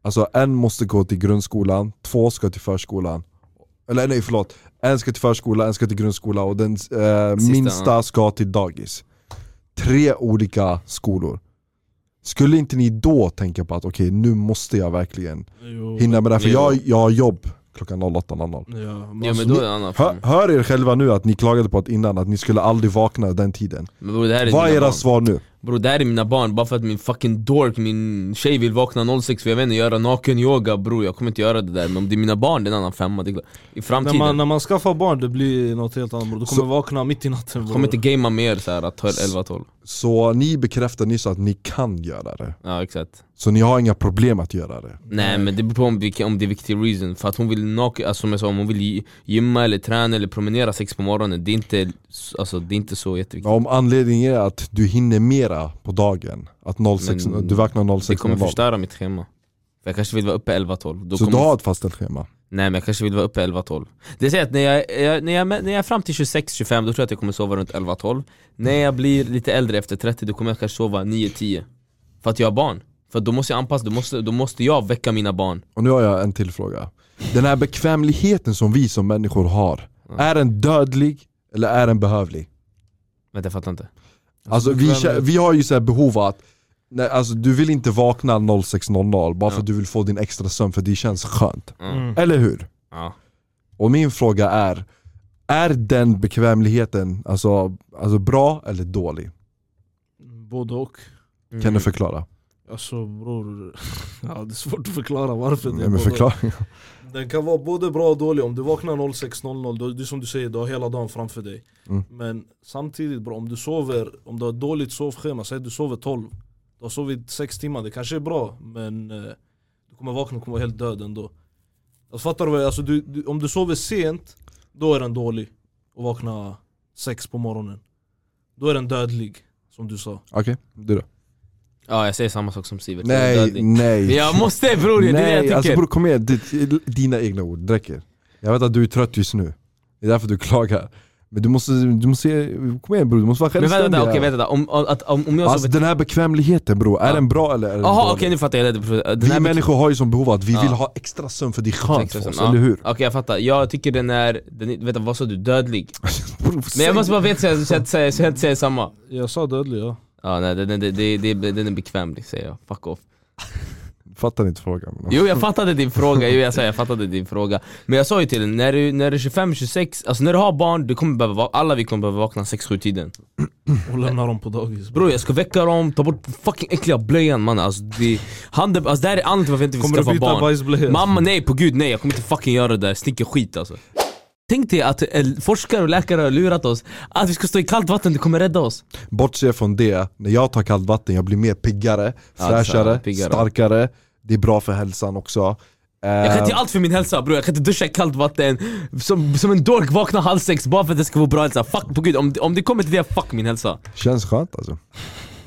Speaker 1: alltså en måste gå till grundskolan, två ska till förskolan. Eller nej förlåt, en ska till förskola, en ska till grundskola och den eh, minsta ska till dagis. Tre olika skolor. Skulle inte ni då tänka på att okej nu måste jag verkligen
Speaker 2: jo,
Speaker 1: hinna med det här för
Speaker 4: Jo.
Speaker 1: jag, jag har jobb klockan 08.00.
Speaker 2: ja, men
Speaker 4: Ja
Speaker 2: alltså,
Speaker 4: men då är det en annan
Speaker 1: Hör,
Speaker 4: form.
Speaker 1: hör er själva nu att ni klagade på att innan att ni skulle aldrig vakna den tiden.
Speaker 4: Men bror det här är
Speaker 1: Vad är
Speaker 4: mina
Speaker 1: era
Speaker 4: barn.
Speaker 1: svar nu?
Speaker 4: Bror det här är mina barn, bara för att min fucking dork, min tjej vill vakna 06 för jag vet inte, göra naken yoga bror jag kommer inte göra det där Men om det är mina barn, det är en annan femma det är klart. I
Speaker 2: när,
Speaker 4: framtiden,
Speaker 2: man, när man skaffar barn det blir något helt annat bror, du kommer
Speaker 1: Så-
Speaker 2: vakna mitt i natten bror.
Speaker 4: kommer inte gamea mer såhär 11-12
Speaker 1: Så ni bekräftar nyss att ni kan göra det.
Speaker 4: Ja exakt
Speaker 1: Så ni har inga problem att göra det?
Speaker 4: Nej men det beror på om, vilka- om det är viktig reason, för att hon vill naken, alltså, som jag sa, om hon vill gy- gymma eller träna eller promenera sex på morgonen Det är inte, alltså, det är inte så jätteviktigt
Speaker 1: Om anledningen är att du hinner mera på dagen, att 06,
Speaker 4: Men
Speaker 1: du vaknar
Speaker 4: Det
Speaker 1: 06
Speaker 4: kommer förstöra mitt schema För jag kanske vill vara uppe 11-12 Då
Speaker 1: Så
Speaker 4: kommer-
Speaker 1: du har ett fastställt schema?
Speaker 4: Nej men jag kanske vill vara uppe 11-12 Det säger att när jag, jag, när, jag, när jag är fram till 26-25 då tror jag att jag kommer sova runt 11-12 När jag blir lite äldre efter 30 då kommer jag kanske sova 9-10 För att jag har barn För att då måste jag anpassa, då måste, då måste jag väcka mina barn
Speaker 1: Och nu har jag en till fråga. Den här bekvämligheten som vi som människor har, är den dödlig eller är den behövlig?
Speaker 4: Vänta jag fattar inte
Speaker 1: Alltså vi, kä-
Speaker 2: bekvämlighet.
Speaker 1: vi har ju så här behov att Nej, alltså du vill inte vakna 06.00 bara för
Speaker 4: Ja.
Speaker 1: att du vill få din extra sömn för det känns skönt.
Speaker 4: ja.
Speaker 2: mm.
Speaker 1: Eller hur?
Speaker 4: Ja.
Speaker 1: Och min fråga är, är den bekvämligheten alltså, alltså bra eller dålig?
Speaker 2: Både och
Speaker 1: Kan du
Speaker 4: Mm.
Speaker 1: förklara?
Speaker 2: Alltså bror, [LAUGHS] ja, det är svårt att förklara varför det
Speaker 1: Nej,
Speaker 2: är
Speaker 1: Mm, men
Speaker 2: både-
Speaker 1: förklaring.
Speaker 2: Den kan vara både bra och dålig, om du vaknar 06.00, då- det är som du säger, du har hela dagen framför dig
Speaker 1: Mm.
Speaker 2: Men samtidigt bro, om du sover, om du har ett dåligt sovschema, säg att du sover 12 Du har sovit 6 timmar, det kanske är bra men eh, du kommer vakna och kommer vara helt död ändå alltså, Fattar du vad jag alltså, du, du, Om du sover sent, då är den dålig och vakna 6 på morgonen Då är den dödlig, som du sa
Speaker 1: [LAUGHS] Okej, du då?
Speaker 4: Ja jag säger samma sak som Sivert, jag är
Speaker 1: Nej,
Speaker 4: dödlig.
Speaker 1: nej.
Speaker 4: Jag måste bror, det är det jag
Speaker 1: nej,
Speaker 4: tycker!
Speaker 1: alltså bror kom igen. Ditt- Dina egna ord, det räcker. Jag vet att du är trött just nu. Det är därför du klagar. Men du måste, du måste, kom igen bror, du måste vara
Speaker 4: men vänta,
Speaker 1: självständig.
Speaker 4: vänta,
Speaker 1: här.
Speaker 4: okej vänta, om, att, om, om jag
Speaker 1: Alltså
Speaker 4: sover...
Speaker 1: den här bekvämligheten bror, är
Speaker 4: Ja.
Speaker 1: den bra eller är den
Speaker 4: Jaha
Speaker 1: dålig?
Speaker 4: okej nu fattar jag, det är- den
Speaker 1: Vi
Speaker 4: här
Speaker 1: människor har ju som behov att vi
Speaker 4: Ja.
Speaker 1: vill ha extra sömn för det är skönt för
Speaker 4: Extra
Speaker 1: oss,
Speaker 4: sömn, ja.
Speaker 1: eller hur?
Speaker 4: Okej jag fattar, jag tycker den är, den, är- vänta vad sa du, dödlig?
Speaker 1: Bror,
Speaker 4: Men
Speaker 1: säg-
Speaker 4: jag måste bara veta så jag- så jag inte säger- så jag inte säger samma
Speaker 2: Jag sa dödlig ja
Speaker 4: Ja nej den, den, den, den, den, den är bekvämlig säger jag, fuck off
Speaker 1: Fattar inte frågan. men-
Speaker 4: Jo jag fattade din fråga, jo, jag, sa, jag fattade din fråga Men jag sa ju till dig, när du, när du är 25, 26, alltså när du har barn, du kommer behöva, va- alla vi kommer behöva vakna 6-7 tiden
Speaker 2: Och lämna dem på dagis
Speaker 4: Bror jag ska väcka dem, ta bort fucking äckliga blöjan mannen alltså, det, handen, alltså det här är anledningen till varför
Speaker 2: Kommer
Speaker 4: jag inte vill
Speaker 2: du
Speaker 4: skaffa
Speaker 2: byta
Speaker 4: barn
Speaker 2: bajsblöja?
Speaker 4: Mamma nej, på gud nej, jag kommer inte fucking göra det där, stinker skit alltså Tänk dig att eh, forskare och läkare har lurat oss att vi ska stå i kallt vatten, det kommer rädda oss
Speaker 1: Bortse från det, när jag tar kallt vatten jag blir mer piggare,
Speaker 4: Ja,
Speaker 1: fräschare,
Speaker 4: så, piggare.
Speaker 1: starkare Det är bra för hälsan också
Speaker 4: Jag kan inte
Speaker 1: eh,
Speaker 4: göra allt för min hälsa bror, jag kan inte duscha i kallt vatten Som, som en dork vakna halv sex bara för att det ska vara bra hälsa Fuck på gud, om, om det kommer till det, fuck min hälsa
Speaker 1: Känns skönt alltså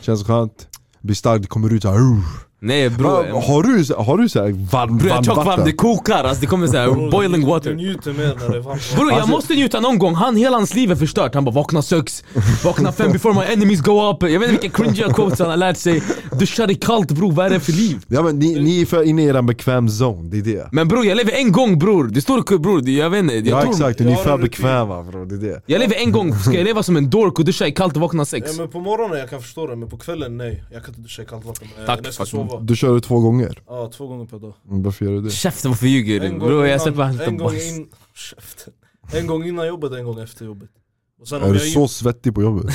Speaker 1: Känns skönt, blir stark, det kommer ut såhär
Speaker 4: Nej bror,
Speaker 1: Bro,
Speaker 4: bror
Speaker 1: Har du, så- har du såhär varm,
Speaker 4: jag är
Speaker 1: varm
Speaker 4: tjockvarm,
Speaker 1: vatten?
Speaker 4: det kokar alltså det kommer såhär boiling
Speaker 2: Du
Speaker 4: water
Speaker 2: njuter mer när det är varmt
Speaker 4: Bror jag
Speaker 1: Alltså-
Speaker 4: måste njuta någon gång, han hela hans liv är förstört Han bara vakna sex, vakna fem before my enemies go up Jag vet inte vilka cringiga quotes han har lärt sig Duschar i kallt bror, vad är det för liv?
Speaker 1: Ja, men ni, ni är för inne i er bekväm zone, det är det
Speaker 4: Men bror jag lever en gång bror, det står bror, det- jag vet inte jag,
Speaker 1: Ja
Speaker 4: tror,
Speaker 1: exakt, ni är
Speaker 2: jag har
Speaker 1: för
Speaker 2: en rutin.
Speaker 1: bekväma bro, det är det
Speaker 4: jag lever en gång, ska jag leva som en dork och duscha i kallt och vakna sex?
Speaker 2: Ja, men på morgonen jag kan förstå det, men på kvällen nej. Jag kan inte duscha i kallt vatten. Eh,
Speaker 4: Tack,
Speaker 2: när jag ska
Speaker 4: fuck.
Speaker 2: sova.
Speaker 1: Du kör det två gånger,
Speaker 2: Ja, två gånger per dag.
Speaker 1: Mm, varför gör du det?
Speaker 4: Käften varför ljuger du? Bror jag släpper hans
Speaker 2: en, gång
Speaker 4: bajs [LAUGHS]
Speaker 2: in, [LAUGHS] Käften. en gång innan jobbet, en gång efter jobbet. Och sen
Speaker 1: Är
Speaker 2: om
Speaker 1: du
Speaker 2: jag
Speaker 1: så svettig på
Speaker 4: [LAUGHS]
Speaker 1: jobbet?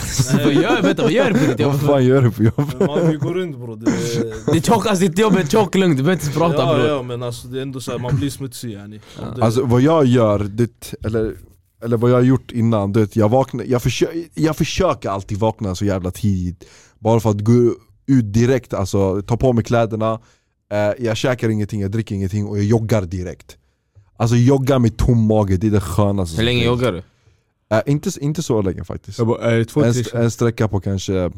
Speaker 4: Vad gör, vänta, vad gör du på ditt jobb?
Speaker 1: Vad fan gör du på jobbet?
Speaker 2: Men Man, vi går runt bror. Det,
Speaker 4: [LAUGHS] Det är tjock, alltså ditt jobb är tjock lugnt, du behöver inte prata
Speaker 2: ja,
Speaker 4: bror
Speaker 2: ja, men alltså det är ändå så här, man blir smutsig yani.
Speaker 4: Ja.
Speaker 2: Det-
Speaker 1: Alltså vad jag gör, det, eller, eller vad jag har gjort innan, det, jag, vaknar, jag, försö, jag försöker alltid vakna så jävla tidigt. Bara för att gå ut direkt, alltså ta på mig kläderna, eh, jag käkar ingenting, jag dricker ingenting och jag joggar direkt. Alltså jogga med tom mage, det är det skönaste
Speaker 4: Hur
Speaker 1: som
Speaker 4: länge
Speaker 1: finns.
Speaker 4: joggar du?
Speaker 1: Eh, inte, inte så länge faktiskt.
Speaker 3: Jag bara, eh, två
Speaker 1: En,
Speaker 3: till
Speaker 1: st- en sträcka på kanske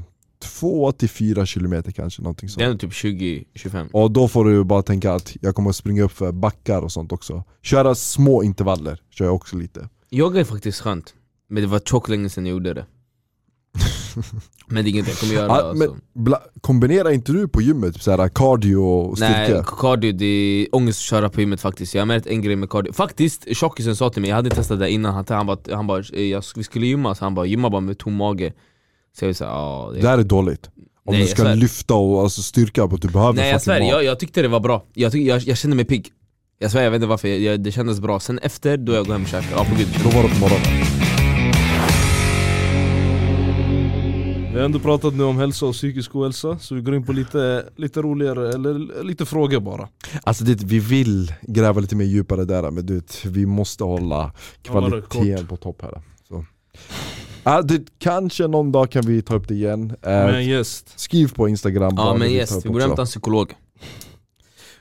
Speaker 1: 2-4 kilometer kanske, någonting sånt.
Speaker 4: Det är ändå typ 20-25
Speaker 1: Och då får du bara tänka att jag kommer springa upp för backar och sånt också. Köra små intervaller, kör jag också lite.
Speaker 4: Yoga är faktiskt skönt, men det var tjock länge sedan jag
Speaker 1: [LAUGHS]
Speaker 4: gjorde det Men det är inget jag kommer göra
Speaker 1: Ja,
Speaker 4: alltså.
Speaker 1: men bla, kombinerar inte du på gymmet typ såhär cardio och styrka?
Speaker 4: Nej, cardio det är ångest att köra på gymmet faktiskt Jag har märkt en grej med cardio Faktiskt, tjockisen sa till mig, jag hade testat det innan Han, han bara, han bara eh, jag, vi skulle gymma, så han bara gymma bara med tom mage Så jag var såhär, ja det
Speaker 1: Det här är dåligt. Om
Speaker 4: Nej,
Speaker 1: du
Speaker 4: jag
Speaker 1: ska
Speaker 4: svär.
Speaker 1: lyfta och alltså, styrka, på att du behöver
Speaker 4: Nej jag
Speaker 1: fucking
Speaker 4: svär,
Speaker 1: mat.
Speaker 4: jag, jag tyckte det var bra. Jag, tyck, jag, jag kände mig pigg. Jag svär, jag vet inte varför, jag, jag, det kändes bra. Sen efter, då jag går hem och käkar. Ja på gud.
Speaker 1: Då var det på morgonen.
Speaker 2: Vi har ändå pratat nu om hälsa och psykisk ohälsa, så vi går in på lite, lite roligare, eller lite frågor bara.
Speaker 1: Alltså det, vi vill gräva lite mer djupare där men du vet, vi måste hålla
Speaker 2: Hålla det
Speaker 1: kvaliteten på topp här. Så. Ja, det, kanske någon dag kan vi ta upp det igen. Eh,
Speaker 2: Med en gäst.
Speaker 1: skriv på instagram
Speaker 4: Ja
Speaker 1: vad
Speaker 4: men
Speaker 1: vill ta
Speaker 4: yes,
Speaker 1: upp
Speaker 4: vi borde
Speaker 1: också.
Speaker 4: hämta en psykolog.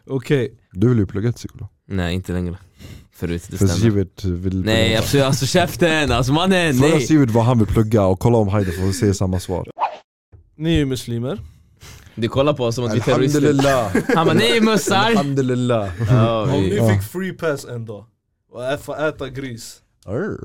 Speaker 2: Okej,
Speaker 1: Du vill ju plugga till psykolog.
Speaker 4: Nej inte längre. Förut, det
Speaker 1: För
Speaker 4: stämmer.
Speaker 1: Sivert vill
Speaker 4: Nej
Speaker 1: plugga.
Speaker 4: absolut, alltså käften, alltså mannen,
Speaker 1: Fråga
Speaker 4: nej!
Speaker 1: Sivert vad han vill plugga och kolla om Haider får se samma svar.
Speaker 4: [LAUGHS]
Speaker 2: ni är ju muslimer.
Speaker 4: Du kollar på oss som att vi är terrorister. [LAUGHS]
Speaker 1: Alhamdulillah.
Speaker 4: Han bara
Speaker 1: [LAUGHS]
Speaker 4: nej mössar!
Speaker 1: Alhamdulillah.
Speaker 4: Ja,
Speaker 2: Om
Speaker 4: vi-
Speaker 2: ni
Speaker 1: Ja.
Speaker 2: fick free pass en dag, och ä- få äta gris,
Speaker 1: Arr.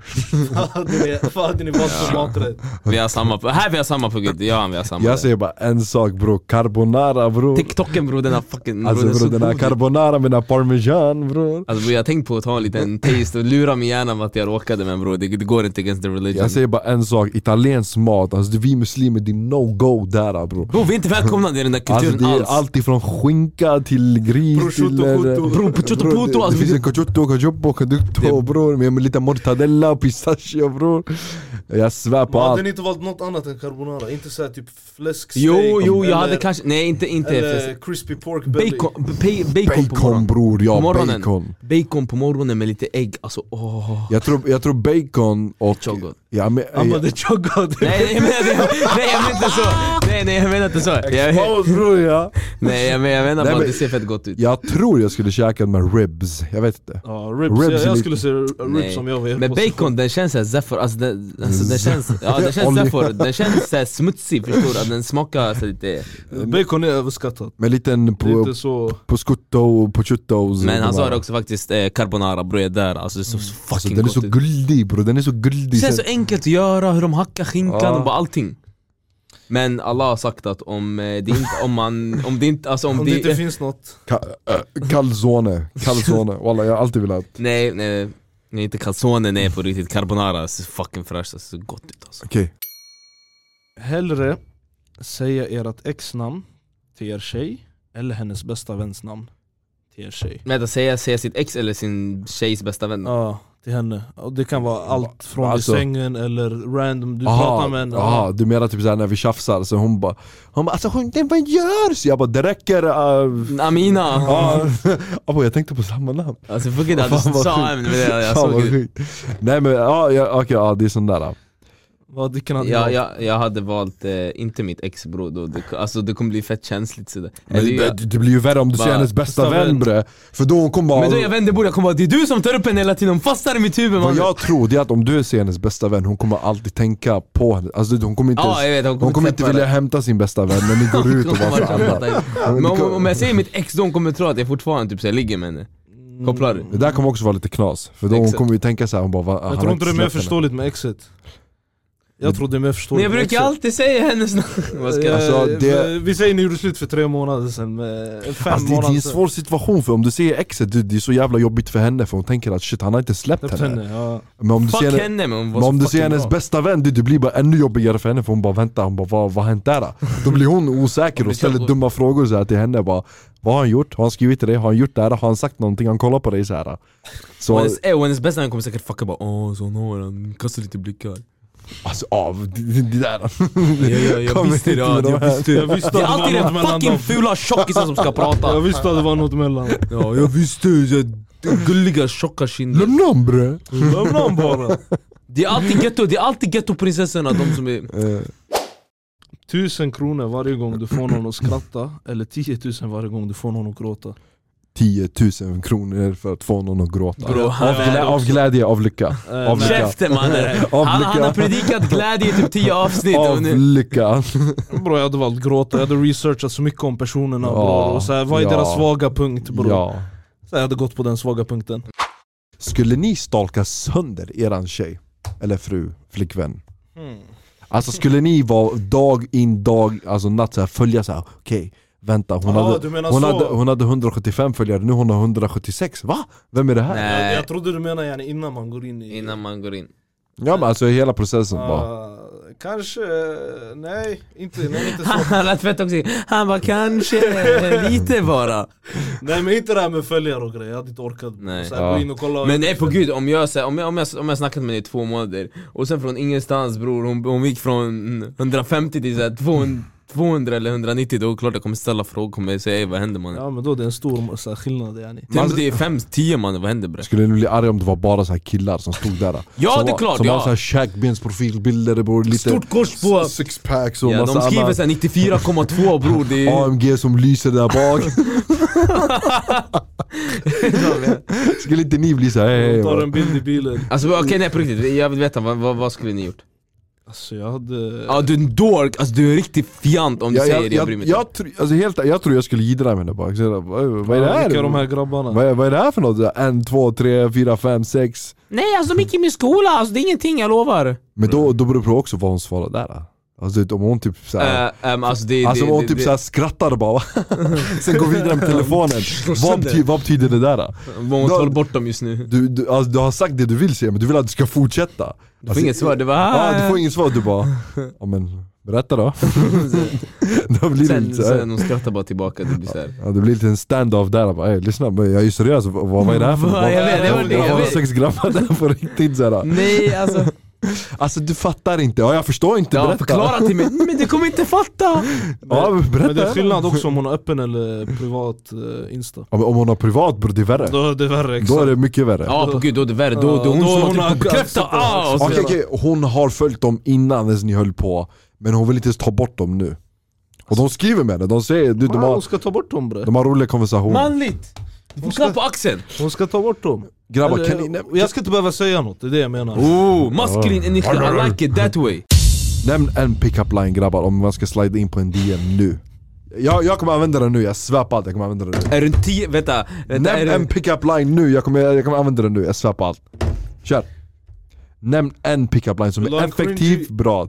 Speaker 2: Vad hade ni- vad hade ni valt för
Speaker 4: Ja.
Speaker 2: maträtt?
Speaker 4: Vi har samma, på- här vi har samma på gud, ja vi har samma.
Speaker 1: Jag säger bara en sak bro, carbonara bro.
Speaker 4: TikToken bror den har fucking,
Speaker 1: Alltså
Speaker 4: bror,
Speaker 1: bro,
Speaker 4: så
Speaker 1: den här
Speaker 4: god.
Speaker 1: carbonara med den här parmesan bro.
Speaker 4: Alltså bror jag har tänkt på att ta en liten taste och lura min hjärna med att jag råkade men bror det, det går inte against the religion.
Speaker 1: Jag säger bara en sak, italiensk mat, alltså det- vi muslimer det är no-go där bro.
Speaker 4: Bror vi är inte välkomna i den där
Speaker 1: Alltså
Speaker 4: kulturen
Speaker 1: det är
Speaker 4: alls.
Speaker 1: allt ifrån skinka till gris
Speaker 2: Prosciutto,
Speaker 1: till... eh,
Speaker 2: cotto.
Speaker 4: Bror pucciotto
Speaker 1: Bro,
Speaker 4: puto
Speaker 1: det, det
Speaker 4: alltså
Speaker 1: finns en caciotto, cacioppo, caducto bror, med lite mortadella, pistachio bror Jag svär på
Speaker 2: Man
Speaker 1: allt.
Speaker 2: hade inte valt något annat än carbonara, inte såhär typ fläsksteak
Speaker 4: Jo, jo,
Speaker 2: eller,
Speaker 4: jag hade kanske... Nej, inte... inte
Speaker 2: eller
Speaker 4: fest.
Speaker 2: crispy pork belly
Speaker 4: Bacon, b- pe- bacon på
Speaker 1: Bacon
Speaker 4: morgonen.
Speaker 1: bror, ja
Speaker 4: På morgonen.
Speaker 1: bacon.
Speaker 4: Bacon på morgonen med lite ägg, alltså åh...
Speaker 1: Jag tror, jag tror bacon och...
Speaker 4: Chogot.
Speaker 1: Ja, men,
Speaker 2: Han bara det är chockad
Speaker 4: [LAUGHS] Nej, nej, jag menar, nej jag menar inte så! Nej nej jag menar inte så! Jag,
Speaker 2: Exposed bror ja
Speaker 4: nej jag menar, jag
Speaker 1: Nej,
Speaker 4: menar bara att
Speaker 1: men-
Speaker 4: det ser fett gott ut.
Speaker 1: jag tror jag skulle käka med ribs, jag vet inte.
Speaker 2: Ja, ribs,
Speaker 1: Ribs
Speaker 2: jag,
Speaker 1: är
Speaker 2: jag
Speaker 1: lite-
Speaker 2: skulle säga ribs
Speaker 4: Nej.
Speaker 2: som jag var i er
Speaker 4: Men
Speaker 2: position.
Speaker 4: bacon den känns såhär zephyr, alltså den, alltså den känns, ja, den känns
Speaker 1: Olja.
Speaker 4: zephyr, den känns såhär smutsig förstår du, den smakar så lite
Speaker 2: Bacon är överskattat,
Speaker 1: Med liten
Speaker 2: det är inte
Speaker 1: po-
Speaker 2: så...
Speaker 1: prosciutto, prosciutto
Speaker 4: Men han sa det också faktiskt, eh, carbonara bror jag är där, alltså det ser så
Speaker 1: Alltså,
Speaker 4: fucking
Speaker 1: den är så
Speaker 4: gott ut.
Speaker 1: gullig bror, den är så
Speaker 4: Det
Speaker 1: gullig.
Speaker 4: känns så enkelt att göra, hur de hackar skinkan
Speaker 1: Ja.
Speaker 4: och bara allting. Men alla har sagt att om eh, det inte, om man, om det inte, alltså om,
Speaker 2: Om det inte finns något
Speaker 1: Ka- äh, calzone, calzone. Walla, jag har alltid velat.
Speaker 4: Nej, nej, nej inte calzone, nej på riktigt carbonara ser fucking fräscht ut, ser gott ut alltså
Speaker 1: Okej.
Speaker 2: Hellre säga ert ex-namn till er tjej, eller hennes bästa väns namn till er tjej
Speaker 4: Vänta, säga, säga sitt ex eller sin tjejs bästa vän?
Speaker 2: Ja, till henne. Och det kan vara allt från
Speaker 1: Mm. Alltså-
Speaker 2: i sängen eller random, du pratar med henne.
Speaker 1: Aha, aha, du menar typ såhär när vi tjafsar, så hon bara Hon bara alltså hon, den, vad görs? Jag bara det räcker uh,
Speaker 4: Amina!
Speaker 1: Ja, [LAUGHS] Abo, jag tänkte på samma namn.
Speaker 4: Alltså fuck it, du
Speaker 1: Fan, vad
Speaker 4: sa
Speaker 1: sjukt.
Speaker 4: ämnet med det, jag
Speaker 1: Fan,
Speaker 4: såg
Speaker 1: vad
Speaker 4: det.
Speaker 1: sjukt. Nej men ja, ja, okej, ja, det är sån där.
Speaker 2: Vad det kan
Speaker 4: Jag, jag, jag hade valt, eh, inte mitt ex bror då, det, alltså det kommer bli fett känsligt sådär
Speaker 1: Men
Speaker 4: Eller
Speaker 1: det,
Speaker 4: jag-
Speaker 1: det blir ju värre om du
Speaker 4: Bara,
Speaker 1: säger hennes bästa
Speaker 2: bästa vän.
Speaker 1: vän bre. För då hon kommer bara
Speaker 4: Men då jag vänder bordet, jag kommer bara 'Det är du som tar upp henne hela tiden, hon fastnar i mitt huvud
Speaker 1: Vad
Speaker 4: mannen'
Speaker 1: jag tror det är att om du ser hennes bästa vän, hon kommer alltid tänka på henne. Alltså hon kommer inte,
Speaker 4: Ja, jag
Speaker 1: ens,
Speaker 4: vet, hon
Speaker 1: hon kommer inte
Speaker 4: släppa
Speaker 1: vilja
Speaker 4: det.
Speaker 1: hämta sin bästa vän när
Speaker 4: [LAUGHS]
Speaker 1: ni går ut och bara
Speaker 4: Hon kommer
Speaker 1: såhär.
Speaker 4: bara- Men om, om jag säger mitt ex, de kommer tro att jag fortfarande typ, så här, ligger med henne Kopplar du?
Speaker 1: Det där kommer också vara lite knas, för då hon
Speaker 4: Exakt.
Speaker 1: kommer ju tänka såhär, hon bara "Va, han
Speaker 2: jag
Speaker 1: har
Speaker 2: tror inte det är mer
Speaker 1: släppt henne."
Speaker 2: förståeligt med exet.
Speaker 1: Mm.
Speaker 2: Jag tror det är mer
Speaker 4: Men
Speaker 2: förståeligt
Speaker 4: jag
Speaker 2: med
Speaker 4: brukar
Speaker 2: exet.
Speaker 4: alltid säga hennes namn [LAUGHS] Vad ska jag-
Speaker 1: Alltså,
Speaker 2: Eh,
Speaker 1: det-
Speaker 2: Vi säger ni gjorde slut för tre månader sedan, eh, fem
Speaker 1: Alltså, det, det är
Speaker 2: månader
Speaker 1: en svår situation för om du ser exet, det, det är så jävla jobbigt för henne för hon tänker att shit han har inte släppt
Speaker 2: Släppt
Speaker 1: henne.
Speaker 2: henne, ja.
Speaker 1: Men om du
Speaker 4: Fuck
Speaker 1: ser, henne,
Speaker 4: henne men hon var
Speaker 1: men
Speaker 4: så
Speaker 1: om du ser
Speaker 4: fucking
Speaker 1: hennes
Speaker 4: bra.
Speaker 1: bästa vän, det, det blir bara ännu jobbigare för henne för hon bara väntar, hon bara vad vad har hänt där?
Speaker 4: [LAUGHS]
Speaker 1: då?" Då blir hon osäker
Speaker 4: blir
Speaker 1: och ställer
Speaker 4: så-
Speaker 1: dumma frågor så här till henne bara Vad har han gjort? Har han skrivit till dig? Har han gjort det här? Har han sagt någonting? Har han kollat på dig så här.
Speaker 4: Och
Speaker 1: Så
Speaker 4: hennes, eh, och hennes bästa vän kommer säkert fucka bara 'Åh, så hon har han kastar
Speaker 1: [LAUGHS]
Speaker 4: lite blickar'
Speaker 1: alltså av det det där
Speaker 4: Jag, jag,
Speaker 1: [LAUGHS]
Speaker 4: jag
Speaker 1: Kom
Speaker 4: visste det,
Speaker 1: inte
Speaker 4: ja,
Speaker 1: med de
Speaker 4: jag
Speaker 1: här.
Speaker 4: visste
Speaker 2: Jag
Speaker 4: det
Speaker 2: visste att
Speaker 4: Det är
Speaker 2: det var
Speaker 4: alltid
Speaker 2: något
Speaker 4: den
Speaker 2: mellan dem.
Speaker 4: fucking fula tjockisen
Speaker 1: [LAUGHS]
Speaker 4: som ska
Speaker 2: Jag
Speaker 4: prata
Speaker 2: visste att det var något mellan.
Speaker 4: Ja, jag visste det, gulliga tjocka kinder
Speaker 1: Lämna honom bre!
Speaker 2: Lämna honom bara.
Speaker 4: Det är alltid ghetto, det är alltid ghettoprinsessorna de som är
Speaker 1: Eh,
Speaker 2: Tusen kronor varje gång du får någon att skratta, eller 10 000 varje gång du får någon att gråta.
Speaker 1: 10 000 kronor för att få någon att gråta
Speaker 4: Bro,
Speaker 1: Av,
Speaker 4: han
Speaker 1: glä,
Speaker 4: är
Speaker 1: av glädje, av lycka
Speaker 2: Eh,
Speaker 1: Av lycka. [LAUGHS]
Speaker 4: Käften mannen!
Speaker 1: Av
Speaker 4: Han, han har
Speaker 1: lycka.
Speaker 4: predikat glädje i typ
Speaker 1: [LAUGHS]
Speaker 4: 10 avsnitt och
Speaker 1: Av
Speaker 4: nu [LAUGHS]
Speaker 1: lycka
Speaker 2: Bro, jag hade valt gråta, jag hade researchat så mycket om personerna
Speaker 1: Ja,
Speaker 2: bror och så här, vad är
Speaker 1: ja.
Speaker 2: deras svaga punkt bror?
Speaker 1: Ja.
Speaker 2: Så här, jag hade gått på den svaga punkten
Speaker 1: Skulle ni stalka sönder eran tjej? Eller fru, flickvän?
Speaker 4: Hmm.
Speaker 1: Alltså skulle ni vara dag in, dag, alltså natt så här, följa så här. okej Vänta, hon,
Speaker 2: Ah,
Speaker 1: hade,
Speaker 2: du menar
Speaker 1: hon,
Speaker 2: så.
Speaker 1: hade, hon hade 175 följare, nu hon har 176, va? Vem är det här?
Speaker 2: Jag,
Speaker 4: Nej,
Speaker 2: jag trodde du menade gärna innan man går in i...
Speaker 4: innan man går in
Speaker 1: Ja men alltså hela processen bara
Speaker 2: Ah, kanske, nej, inte, nej,
Speaker 1: [LAUGHS]
Speaker 2: inte så.
Speaker 4: [LAUGHS] Han lät fett också, han bara kanske lite bara
Speaker 2: nej men inte det här med följare och grejer, jag hade inte orkat
Speaker 4: Nej.
Speaker 2: så här, gå
Speaker 1: Ja.
Speaker 2: in och kolla
Speaker 4: Men nej på gud, om jag, så här- om jag, om jag, om jag snackat med dig i två månader och sen från ingenstans bror, hon, hon gick från 150 till så här 200, 200 eller 190 då är det klart jag kommer ställa frågor, kommer säga "Ey, vad händer mannen?
Speaker 2: Ja men då är det en stor så här, skillnad yani
Speaker 1: Typ
Speaker 4: Till och med det är 5, 10 mannen, vad händer bre?
Speaker 1: Skulle ni bli arga om det var bara så här killar som stod där?
Speaker 4: Ja,
Speaker 1: som
Speaker 4: det är
Speaker 1: var-
Speaker 4: klart,
Speaker 1: Som
Speaker 4: ja.
Speaker 1: har såhär käkbensprofilbilder, bror, lite
Speaker 4: Stort kors på...
Speaker 1: s- sixpacks och
Speaker 4: Ja,
Speaker 1: massa
Speaker 4: de skriver
Speaker 1: annat
Speaker 4: såhär 94,2 bror, det är...
Speaker 1: AMG som lyser där
Speaker 4: [LAUGHS]
Speaker 1: bak Skulle inte ni bli såhär hej
Speaker 2: Jag
Speaker 1: hej
Speaker 2: tar en
Speaker 1: bara,
Speaker 2: bild i bilen
Speaker 4: Alltså okej nej på riktigt, jag vill veta vad, vad, vad skulle ni gjort?
Speaker 2: Alltså jag hade...
Speaker 4: Ja du är en dork, alltså du är en riktig fjant om du
Speaker 1: jag,
Speaker 4: säger
Speaker 1: jag,
Speaker 4: det, jag bryr
Speaker 1: jag,
Speaker 4: mig inte
Speaker 1: jag, tror- alltså, helt, jag tror jag skulle jiddra med henne bara Så jag bara, vad, vad är det här?
Speaker 2: Vilka är de här grabbarna?
Speaker 1: Vad, är, vad är det här för något? En, två, tre, fyra, fem, sex
Speaker 4: Nej alltså de gick i min skola, alltså det är ingenting jag lovar!
Speaker 1: Men då,
Speaker 4: Mm.
Speaker 1: då beror det på också vad hon svarar där Alltså om hon typ såhär
Speaker 4: Äh, ehm, alltså det,
Speaker 1: Alltså
Speaker 4: det,
Speaker 1: om hon
Speaker 4: det,
Speaker 1: typ
Speaker 4: det,
Speaker 1: såhär skrattar
Speaker 4: [LAUGHS]
Speaker 1: bara Sen går vidare med telefonen vad, bety, vad betyder det där? Då?
Speaker 4: Många tar bort dem just nu
Speaker 1: Du, du, alltså, du har sagt det du vill säga men du vill att du ska fortsätta
Speaker 4: Du får inget svar, det var
Speaker 1: Alltså, Ja,
Speaker 4: eh.
Speaker 1: du får inget svar, du bara ja, men berätta då Då blir det
Speaker 4: sen,
Speaker 1: lite såhär
Speaker 4: sen de skrattar bara tillbaka, det blir såhär
Speaker 1: Ja det blir lite en stand-off där, jag bara "Ey, lyssna men jag är ju seriös, vad, vad är det här för
Speaker 4: Va, jag vet,
Speaker 2: det var det, jag
Speaker 1: Jag har
Speaker 4: vet.
Speaker 1: sex grabbar där på riktigt såhär [LAUGHS]
Speaker 4: Nej alltså
Speaker 1: Alltså du fattar inte, ja, jag förstår inte,
Speaker 4: Ja,
Speaker 1: berätta.
Speaker 4: förklara till mig, men du kommer inte fatta!
Speaker 1: Ja, men berätta.
Speaker 2: Men det är skillnad också om hon har öppen eller privat eh, Insta.
Speaker 1: Ja, men om hon har privat bror, det är värre.
Speaker 2: Då är det värre.
Speaker 1: Då är
Speaker 2: Exakt.
Speaker 1: det mycket värre.
Speaker 4: Ja på gud, då är det värre, då, då är hon
Speaker 2: Ja, då
Speaker 4: som
Speaker 2: hon
Speaker 4: har
Speaker 2: har
Speaker 4: typ bekräftat
Speaker 2: accepterat.
Speaker 4: allt!
Speaker 1: Okej, okej, hon har följt dem innan ens ni höll på, men hon vill inte ens ta bort dem nu. Och de skriver med henne, de säger du, de,
Speaker 2: Ah, hon
Speaker 1: har,
Speaker 2: ska ta bort dem bre.
Speaker 1: de har roliga konversationer.
Speaker 4: Manligt! Du får klapp på axeln!
Speaker 2: Hon ska ta bort dem.
Speaker 1: Grabbar kan ni,
Speaker 2: Eller,
Speaker 1: näm-
Speaker 2: jag ska inte behöva säga något, det är det jag menar.
Speaker 4: Oh, maskulin energi, I like it that way!
Speaker 1: nämn en pickup line grabbar om man ska slida in på en DM nu. Jag, jag kommer använda den nu, jag svär på allt jag kommer använda den nu.
Speaker 4: Är du en tio, vänta, vänta är
Speaker 1: Nämn en
Speaker 4: du,
Speaker 1: pickup line nu, jag kommer, jag kommer använda den nu, jag svär på allt. Kör! Nämn en pickup line som
Speaker 2: Vill du
Speaker 1: är
Speaker 2: ha en
Speaker 1: effektiv,
Speaker 2: cringy-
Speaker 1: bra.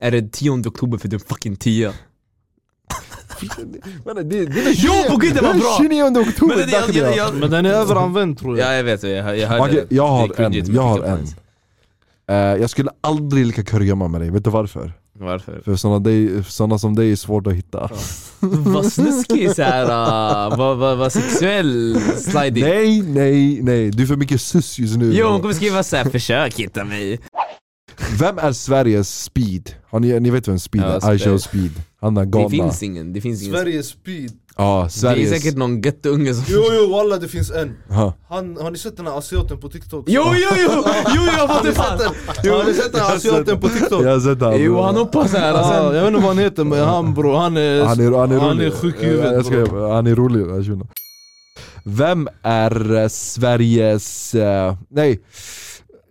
Speaker 4: är det 10 oktober för din fucking tia?
Speaker 1: Men det, det är
Speaker 4: Jo, på gud, det var bra!
Speaker 1: 29 oktober,
Speaker 4: Men det,
Speaker 1: där
Speaker 4: jag,
Speaker 1: kan jag-
Speaker 4: jag, jag,
Speaker 2: Men den är överanvänd tror jag.
Speaker 4: Ja jag vet, jag, jag hörde
Speaker 1: Okej, jag
Speaker 4: det. Det är
Speaker 1: har en,
Speaker 4: cringeigt med
Speaker 1: jag har
Speaker 4: pickup
Speaker 1: en.
Speaker 4: lines.
Speaker 1: Eh, jag skulle aldrig leka kurragömma med dig, vet du varför?
Speaker 4: Varför?
Speaker 1: För sådana, dig, sådana som dig är svårt att hitta
Speaker 4: Vad snuskig såhär, uh, vad, vad, vad sexuell sliding
Speaker 1: Nej, nej, nej, du är för mycket sus just nu
Speaker 4: Jo hon kommer skriva såhär 'försök hitta mig'
Speaker 1: Vem är Sveriges speed? Har ni, ni vet vem speed
Speaker 4: Ja,
Speaker 1: är? I show
Speaker 4: Speed.
Speaker 1: speed Han är
Speaker 4: Det
Speaker 1: galna
Speaker 4: finns ingen, det finns ingen
Speaker 2: Sveriges speed.
Speaker 1: Ja, Sveriges
Speaker 4: Det är säkert någon götteunge som...
Speaker 2: Jo jo walla det finns en.
Speaker 1: Ja.
Speaker 2: Han, har ni sett den här asiaten på TikTok?
Speaker 4: Jo, jo, jo! Jo, jag fattar fan!
Speaker 2: Har ni sett den här asiaten på TikTok?
Speaker 1: Jag har sett han
Speaker 4: Jo, han hoppar såhär
Speaker 2: Ja,
Speaker 4: alltså.
Speaker 2: jag vet inte vad han heter men han bror, han är,
Speaker 1: Han är, han är,
Speaker 2: han
Speaker 1: rolig.
Speaker 2: är sjuk i
Speaker 1: Jag- jag
Speaker 2: huvudet bror.
Speaker 1: ska, Han är rolig den här shunon. Vem är eh, Sveriges... eh, nej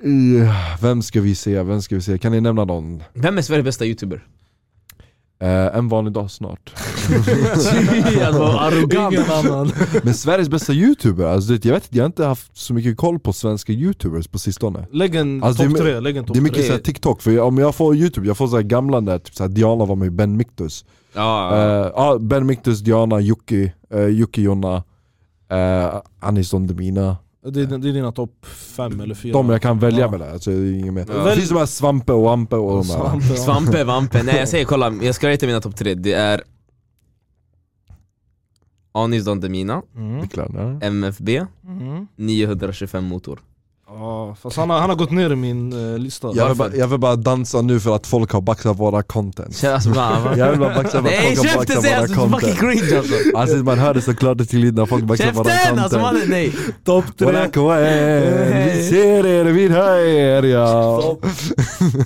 Speaker 1: Eh, Vem ska vi se, vem ska vi se? Kan ni nämna någon?
Speaker 4: Vem är Sveriges bästa youtuber?
Speaker 1: Eh, en vanlig dag snart
Speaker 4: [LAUGHS] alltså, arrogant!
Speaker 2: Ingen annan.
Speaker 1: Men Sveriges bästa youtuber, alltså, det- jag vet inte, jag har inte haft så mycket koll på svenska youtubers på sistone
Speaker 2: Lägg en
Speaker 1: Alltså, det är
Speaker 2: topp
Speaker 1: my-
Speaker 2: tre, lägg en topp
Speaker 1: Det är
Speaker 2: tre.
Speaker 1: mycket såhär TikTok, för jag, om jag får youtube, jag får såhär gamla där, typ såhär Diana var med Ben Mictus
Speaker 4: Ja, ja.
Speaker 1: Eh, Ja, Ben Mictus, Diana, Jocke, uh, Jocke Jonna, uh, Anis Don Demina
Speaker 2: Det är, det är dina topp fem eller fyra.
Speaker 1: De jag kan välja
Speaker 2: Ja.
Speaker 1: mellan, alltså, det är inget mer
Speaker 4: Ja.
Speaker 1: Det finns de här Svampe och Ampe och de här
Speaker 2: Svampe, ja.
Speaker 4: Svampe, Vampe, nej jag säger kolla, jag ska rita mina topp tre, det är Anis Don Demina,
Speaker 2: Mm.
Speaker 1: artiklarna.
Speaker 4: MFB,
Speaker 2: Mm.
Speaker 4: 925 motor
Speaker 2: Ja, fast han har, han har gått ner i min eh, lista.
Speaker 1: jag vill, bara, jag vill bara dansa nu för att folk har baxat våra content
Speaker 4: Känns alltså, va, va?
Speaker 1: Jag vill bara baxa för att
Speaker 4: Nej
Speaker 1: folk har
Speaker 4: käften
Speaker 1: baxat
Speaker 4: säger
Speaker 1: våra
Speaker 4: alltså, fucking
Speaker 1: content
Speaker 4: cringe alltså!
Speaker 1: Alltså man hör det så klart och tydligt när folk baxar våra
Speaker 4: Käften! Alltså
Speaker 1: content
Speaker 4: mannen nej!
Speaker 2: Topp
Speaker 1: Våra KN, vi ser er, vi hör er ja!
Speaker 2: Topp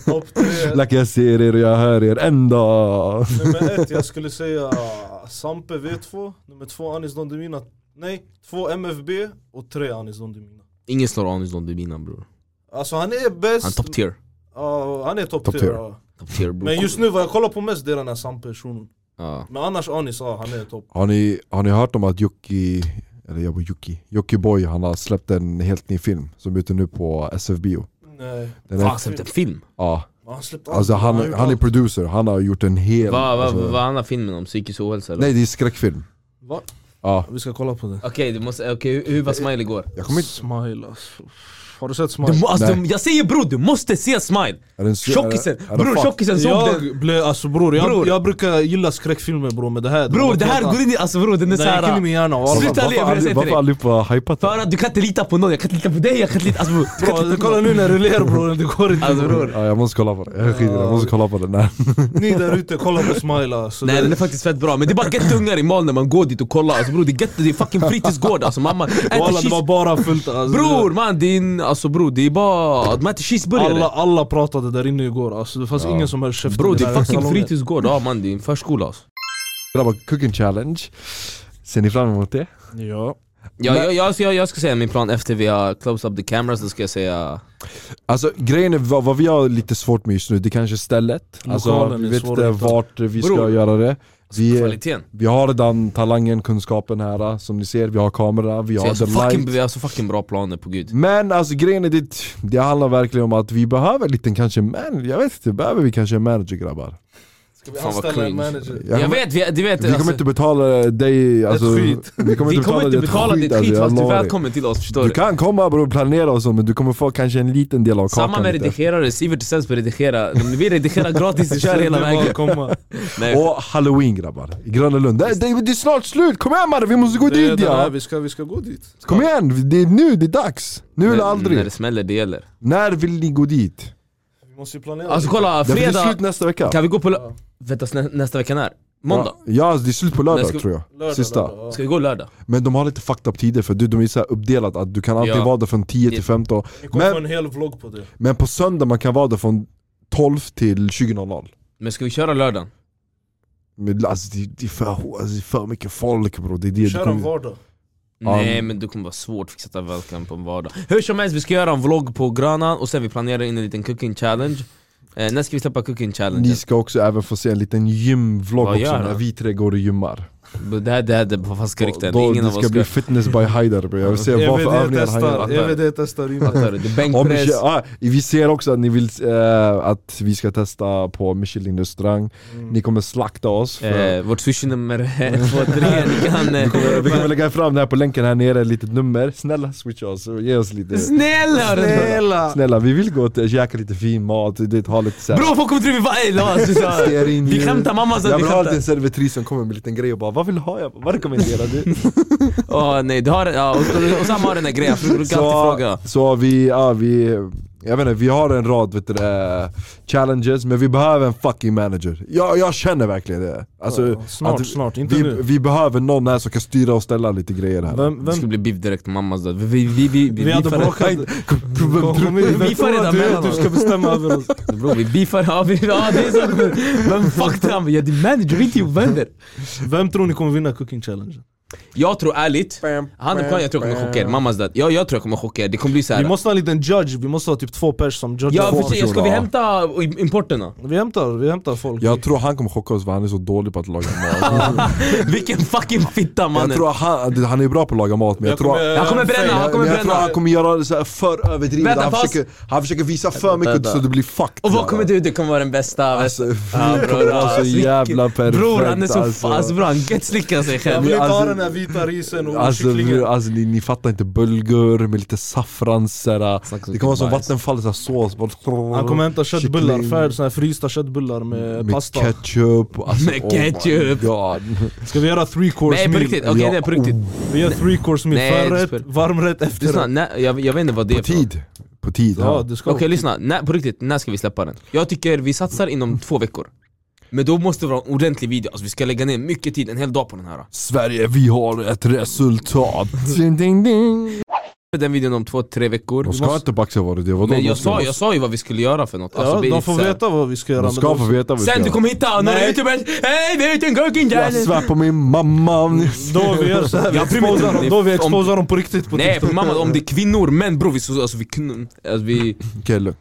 Speaker 2: top [LAUGHS] tre.
Speaker 1: Like jag ser er och jag hör er en dag!
Speaker 2: Nummer ett, jag skulle säga ah, Sampe V2, nummer två Anis Don Demina, nej, två MFB och tre Anis Don Demina.
Speaker 4: [LAUGHS] Ingen slår Anis Don Demina bror,
Speaker 2: Alltså han är bäst,
Speaker 4: han är top tier
Speaker 2: Ja, han är top,
Speaker 1: Top
Speaker 2: tier.
Speaker 1: tier.
Speaker 2: ja.
Speaker 4: Top tier bror
Speaker 2: Men just nu vad jag kollar på mest det är den här Sampe-shunon.
Speaker 4: ja.
Speaker 2: Men annars Anis, ja han är top.
Speaker 1: Har ni, har ni hört om att Jocki, eller jag var Jocki, Jocki Boy han har släppt en helt ny film som är ute nu på SF Bio
Speaker 2: Nej.
Speaker 1: Den
Speaker 4: Fan
Speaker 1: är,
Speaker 4: han släppte en film!
Speaker 1: ja,
Speaker 2: Han släppte allt.
Speaker 1: alltså
Speaker 2: har
Speaker 1: han,
Speaker 2: gjort
Speaker 1: han är
Speaker 2: allt.
Speaker 1: producer, han har gjort en hel...
Speaker 4: Vad va,
Speaker 1: alltså,
Speaker 4: va, handlar filmen om? Psykisk ohälsa eller?
Speaker 1: Nej det är skräckfilm,
Speaker 2: Va?
Speaker 1: ja
Speaker 2: Vi ska kolla på det.
Speaker 4: Okej, du måste, okej, hur- hur var Smiley igår?
Speaker 1: Jag kommer inte...
Speaker 2: Smile alltså. Har du sett
Speaker 4: Du,
Speaker 2: Smile?
Speaker 4: må- alltså,
Speaker 1: Nej.
Speaker 4: du, jag säger bror, du måste se Smile!
Speaker 1: Är den-
Speaker 4: Tjockisen!
Speaker 1: är- är den
Speaker 4: Bror
Speaker 1: fuck?
Speaker 4: tjockisen såg den!
Speaker 2: Jag blev, alltså bror jag,
Speaker 4: Bror.
Speaker 2: jag brukar gilla skräckfilmer bror men det här
Speaker 4: Bror det här går in i, alltså bror den är
Speaker 2: Det här Alltså, gick in i
Speaker 4: såhär
Speaker 2: min hjärna
Speaker 1: Varför-
Speaker 2: walla.
Speaker 4: Sluta le,
Speaker 1: varför
Speaker 4: jag vill
Speaker 1: aldrig-
Speaker 4: säga till
Speaker 1: Varför
Speaker 4: dig.
Speaker 1: aldrig på hypat den?
Speaker 4: För att du kan inte lita på någon, jag kan inte lita på dig, jag kan inte lita, alltså bror, du kan inte
Speaker 2: Kolla,
Speaker 4: lita på
Speaker 2: kolla
Speaker 4: någon
Speaker 2: nu när du ler bror, det går inte
Speaker 4: Alltså bror,
Speaker 1: Ja, jag måste kolla på det, jag skiter i det. jag måste kolla på det [LAUGHS] när
Speaker 2: Ni där ute, kolla på Smile alltså.
Speaker 4: nej
Speaker 2: Det-
Speaker 4: den är faktiskt fett bra men det är bara gettungar i mal när man går dit och kollar Alltså bror det är gett, det är fucking fritidsgård alltså mamma äter
Speaker 2: Walla det var
Speaker 4: cheese...
Speaker 2: bara fullt alltså.
Speaker 4: Bror man det är en, alltså bror det är bara, de äter cheeseburgare
Speaker 2: alla, alla pratade där inne igår alltså, det fanns
Speaker 1: Ja.
Speaker 2: ingen som höll käften
Speaker 4: Bror
Speaker 2: i
Speaker 4: det
Speaker 2: den
Speaker 4: är
Speaker 2: här
Speaker 4: fucking
Speaker 2: salongen.
Speaker 4: fritidsgård, ja man det är en förskola alltså
Speaker 1: Grabbar, cooking challenge Ser ni fram emot det?
Speaker 2: Ja.
Speaker 4: jag,
Speaker 1: Men-
Speaker 4: jag, alltså, jag, jag, jag ska säga min plan efter vi har closed up the cameras, då ska jag säga
Speaker 1: Alltså grejen är, vad, vad vi har lite svårt med just nu, det kanske är stället Alltså
Speaker 2: Lokalen
Speaker 1: vi
Speaker 2: är
Speaker 1: vet
Speaker 2: svår
Speaker 1: inte
Speaker 2: att hitta.
Speaker 1: vart vi ska
Speaker 4: Bror. Alltså,
Speaker 1: göra det vi,
Speaker 4: kvaliteten
Speaker 1: vi har redan talangen, kunskapen här som ni ser, vi har kamera, vi
Speaker 4: Så
Speaker 1: har
Speaker 4: Alltså, jag
Speaker 1: the
Speaker 4: har så fucking,
Speaker 1: light
Speaker 4: vi har så fucking bra planer på gud
Speaker 1: Men alltså grejen är det, det handlar verkligen om att vi behöver lite kanske, man, jag vet inte, behöver vi kanske en manager grabbar?
Speaker 2: Ska vi
Speaker 4: Fan, vad
Speaker 2: anställa en
Speaker 4: cringe.
Speaker 2: manager?
Speaker 1: Jag
Speaker 4: Jag
Speaker 1: kommer-
Speaker 4: vet, vi, du vet
Speaker 1: Vi kommer
Speaker 4: alltså,
Speaker 1: inte betala dig, alltså,
Speaker 2: skit.
Speaker 1: vi kommer
Speaker 4: vi
Speaker 1: inte betala, alltså,
Speaker 4: kommer inte betala ditt skit
Speaker 1: jag
Speaker 4: fast du är
Speaker 1: lovar dig.
Speaker 4: välkommen till oss förstår
Speaker 1: Du
Speaker 4: du?
Speaker 1: kan komma bror, planera och så men du kommer få kanske en liten del av kakan
Speaker 4: Samma med
Speaker 1: lite.
Speaker 4: redigerare, Sivert och Sensberg redigera,
Speaker 1: [LAUGHS]
Speaker 4: vi redigerar gratis, vi kör hela
Speaker 2: Det är bara
Speaker 4: vägen
Speaker 2: att komma.
Speaker 4: Nej,
Speaker 1: Och halloween grabbar, i Gröna Lund. Det, det, det är snart slut, kom igen mannen vi måste gå
Speaker 2: Det är
Speaker 1: dit
Speaker 2: det här,
Speaker 1: ja!
Speaker 2: vi ska, vi ska gå dit.
Speaker 1: Kom igen, det är nu, det är dags! Nu eller
Speaker 4: när- När
Speaker 1: aldrig.
Speaker 4: det smäller, det gäller
Speaker 1: När vill ni gå dit?
Speaker 2: Vi måste ju planera.
Speaker 4: Alltså kolla,
Speaker 1: Därför det är
Speaker 4: fredag,
Speaker 1: slut nästa vecka.
Speaker 4: kan vi gå på... lö-
Speaker 2: Ja.
Speaker 4: Vänta, snä, nästa vecka när? Måndag?
Speaker 1: Ja, det är slut på lördag
Speaker 4: När ska-
Speaker 1: tror jag.
Speaker 2: Lördag,
Speaker 1: Sista.
Speaker 2: lördag, ja.
Speaker 4: Ska vi gå lördag?
Speaker 1: Men de har lite fucked up tider för du, de är så här uppdelat att du kan alltid
Speaker 4: Ja.
Speaker 1: vara där från 10 till 15
Speaker 2: Vi kommer
Speaker 1: Men-
Speaker 2: få en hel vlogg på det.
Speaker 1: Men på söndag man kan vara där från 12 till 20.00
Speaker 4: Men ska vi köra lördagen?
Speaker 1: Men alltså det, det, är för, alltså, det är för mycket folk bror, det är det
Speaker 2: Kör en vardag.
Speaker 1: Ja.
Speaker 4: Nej men det kommer vara svårt att sätta välkommen på en vardag Hur som helst, vi ska göra en vlogg på Grönan och sen vi planerar in en liten cooking challenge eh, När ska vi släppa cooking challenge?
Speaker 2: liksom.
Speaker 1: Ni ska också även få se en liten gymvlogg
Speaker 4: Vad
Speaker 1: också
Speaker 4: gör
Speaker 1: när
Speaker 4: han?
Speaker 1: vi tre går och gymmar
Speaker 4: Det här, det här det var falska rykten,
Speaker 1: Då,
Speaker 4: ingen
Speaker 1: Det
Speaker 4: av
Speaker 1: ska
Speaker 4: oss
Speaker 1: bli
Speaker 4: ska...
Speaker 1: fitness by Haider bror, jag vill se vad för
Speaker 2: EVD
Speaker 1: övningar han gör
Speaker 2: testar,
Speaker 4: gör.
Speaker 2: EVD testar in.
Speaker 4: Fattar du? Det är
Speaker 1: Om
Speaker 4: bänkpress,
Speaker 1: Michel, ah, vi ser också att ni vill eh, att vi ska testa på Michelin-restaurang, ni kommer slakta oss för,
Speaker 4: eh, vårt [LAUGHS] swishnummer
Speaker 1: [LAUGHS]
Speaker 4: är 2-3, ni kan...
Speaker 1: vi, [LAUGHS]
Speaker 4: eh,
Speaker 1: kommer, vi
Speaker 4: [LAUGHS]
Speaker 1: kommer lägga fram det här på länken här nere, ett litet nummer Snälla switcha oss, och ge oss lite
Speaker 4: Snälla! hörru.
Speaker 1: Snälla, vi vill gå och käka lite fin mat, det, ha lite såhär
Speaker 4: Bror folk kommer tro vi var ey, alltså, så här. Vi skämtar mamma så
Speaker 1: Jag
Speaker 4: att vi
Speaker 1: vill ha alltid
Speaker 4: skämtar
Speaker 1: en servitris som kommer med en liten grej och bara Vad vill du ha? Jag bara, vad rekommenderar du?
Speaker 4: Åh nej, du har, ja, och, och samma har den där grejen, för du brukar alltid fråga
Speaker 1: så vi, ja vi, jag vet inte, vi har en rad vet du, det, challenges men vi behöver en fucking manager Jag, jag känner verkligen det alltså,
Speaker 2: Ja, snart,
Speaker 1: att-
Speaker 2: snart, inte
Speaker 1: vi,
Speaker 2: nu.
Speaker 1: vi behöver någon här som kan styra och ställa lite grejer här
Speaker 2: Vem,
Speaker 4: Det
Speaker 2: vem,
Speaker 4: skulle bli biff direkt på mammas död, vi, vi, vi, vi, vi,
Speaker 2: Vi hade
Speaker 4: beefar-
Speaker 2: bråkat.
Speaker 4: [LAUGHS] Vi får redan mellan
Speaker 2: Du
Speaker 4: oss.
Speaker 2: ska bestämma över
Speaker 4: [LAUGHS]
Speaker 2: oss.
Speaker 4: Bro, vi beefar, ja, vi, ja det är så Men fuck them, jag är din manager, vi är inte ovänner
Speaker 2: Vem tror ni kommer vinna cooking challenge?
Speaker 4: Jag tror ärligt, han är jag tror jag kommer chocka er, mammas död Jag, jag tror jag kommer chocka er, det kommer bli
Speaker 2: Vi
Speaker 4: såhär
Speaker 2: måste ha en liten judge, vi måste ha typ två pers som judge
Speaker 4: Ja,
Speaker 1: två
Speaker 4: precis, ska vi
Speaker 1: personer, ja.
Speaker 4: hämta importerna?
Speaker 2: Vi hämtar, vi hämtar folk
Speaker 1: Jag tror han kommer chocka oss för han är så dålig på att laga mat
Speaker 4: [LAUGHS] Vilken fucking fitta
Speaker 1: Jag
Speaker 4: mannen!
Speaker 1: tror han, han är bra på att laga mat men jag, tror
Speaker 4: Han kommer bränna, han kommer
Speaker 1: men jag
Speaker 4: bränna!
Speaker 1: tror han kommer göra det så här för överdrivet,
Speaker 4: Vänta,
Speaker 1: han,
Speaker 4: fast-
Speaker 1: försöker, han försöker visa för mycket
Speaker 4: Vänta.
Speaker 1: så det blir fucked
Speaker 4: Och vad kommer
Speaker 1: det?
Speaker 4: du, det kommer vara den bästa
Speaker 1: Alltså, vi
Speaker 4: Ja, bror,
Speaker 1: kommer vara så
Speaker 4: alltså,
Speaker 1: jävla perfekt
Speaker 4: Bror han är så alltså. alltså bror han göttslickar sig
Speaker 2: Jag
Speaker 4: själv
Speaker 2: vill inte
Speaker 1: Alltså-
Speaker 2: ha den här vita risen och
Speaker 1: Alltså,
Speaker 2: kycklingen
Speaker 1: vi, alltså ni, ni fattar inte, bulgur med lite saffran såhär,
Speaker 4: Snacka om
Speaker 1: Det kommer vara som
Speaker 4: bajs.
Speaker 1: vattenfall, såhär, sås bara-
Speaker 2: Han kommer hämta köttbullar,
Speaker 1: Kyckling.
Speaker 2: färd, såna här frysta köttbullar med,
Speaker 1: Med
Speaker 2: pasta
Speaker 1: ketchup, alltså,
Speaker 4: Med
Speaker 1: oh
Speaker 4: ketchup.
Speaker 1: my god
Speaker 2: Ska vi göra three course
Speaker 4: Nej på
Speaker 2: meal?
Speaker 4: riktigt, okej
Speaker 1: Ja,
Speaker 4: det är på riktigt
Speaker 2: Vi gör three course meal,
Speaker 4: Nej,
Speaker 2: förrätt,
Speaker 4: det spelar-
Speaker 2: varmrätt,
Speaker 4: Lyssna,
Speaker 2: efterrätt
Speaker 4: nej, jag, jag vet inte vad det
Speaker 1: På
Speaker 4: är för något.
Speaker 1: tid, på tid
Speaker 2: Ja,
Speaker 1: ja.
Speaker 2: det ska
Speaker 4: Okej lyssna, när, på riktigt, när ska vi släppa den? Jag tycker vi satsar inom två veckor Men då måste det vara en ordentlig video, alltså vi ska lägga ner mycket tid, en hel dag på den här
Speaker 1: Sverige, vi har ett
Speaker 4: [LAUGHS]
Speaker 1: resultat! ding, ding, ding.
Speaker 4: Den videon om två, tre veckor
Speaker 1: De
Speaker 4: Vi
Speaker 1: ska
Speaker 4: måste-
Speaker 1: inte backa vad det är, vadå?
Speaker 4: Men
Speaker 1: De
Speaker 4: jag
Speaker 1: ska-
Speaker 4: sa, jag sa ju vad vi skulle göra för något
Speaker 2: Ja,
Speaker 4: alltså, det är
Speaker 2: de
Speaker 4: lite
Speaker 2: får
Speaker 4: så här-
Speaker 2: veta vad vi ska göra
Speaker 1: De
Speaker 2: men
Speaker 1: ska
Speaker 2: de-
Speaker 1: få veta vad vi ska
Speaker 4: Sen du
Speaker 1: göra.
Speaker 4: kommer hitta några
Speaker 2: Nej.
Speaker 4: youtubers, hej vi har gjort en cooking
Speaker 1: Jag
Speaker 4: challenge!
Speaker 1: svär på min mamma
Speaker 4: [LAUGHS]
Speaker 1: om ni...
Speaker 2: Då vi gör såhär, vi
Speaker 4: Jag bryr mig
Speaker 2: exposar
Speaker 4: inte.
Speaker 2: dem, då vi
Speaker 4: Om-
Speaker 2: exposar dem på riktigt på
Speaker 4: Nej
Speaker 2: TikTok
Speaker 4: för mamma, om det är kvinnor, män bror vi, så- alltså, vi, kun- alltså,
Speaker 1: [LAUGHS]
Speaker 4: vi
Speaker 1: Okej
Speaker 4: [LAUGHS]
Speaker 1: lugn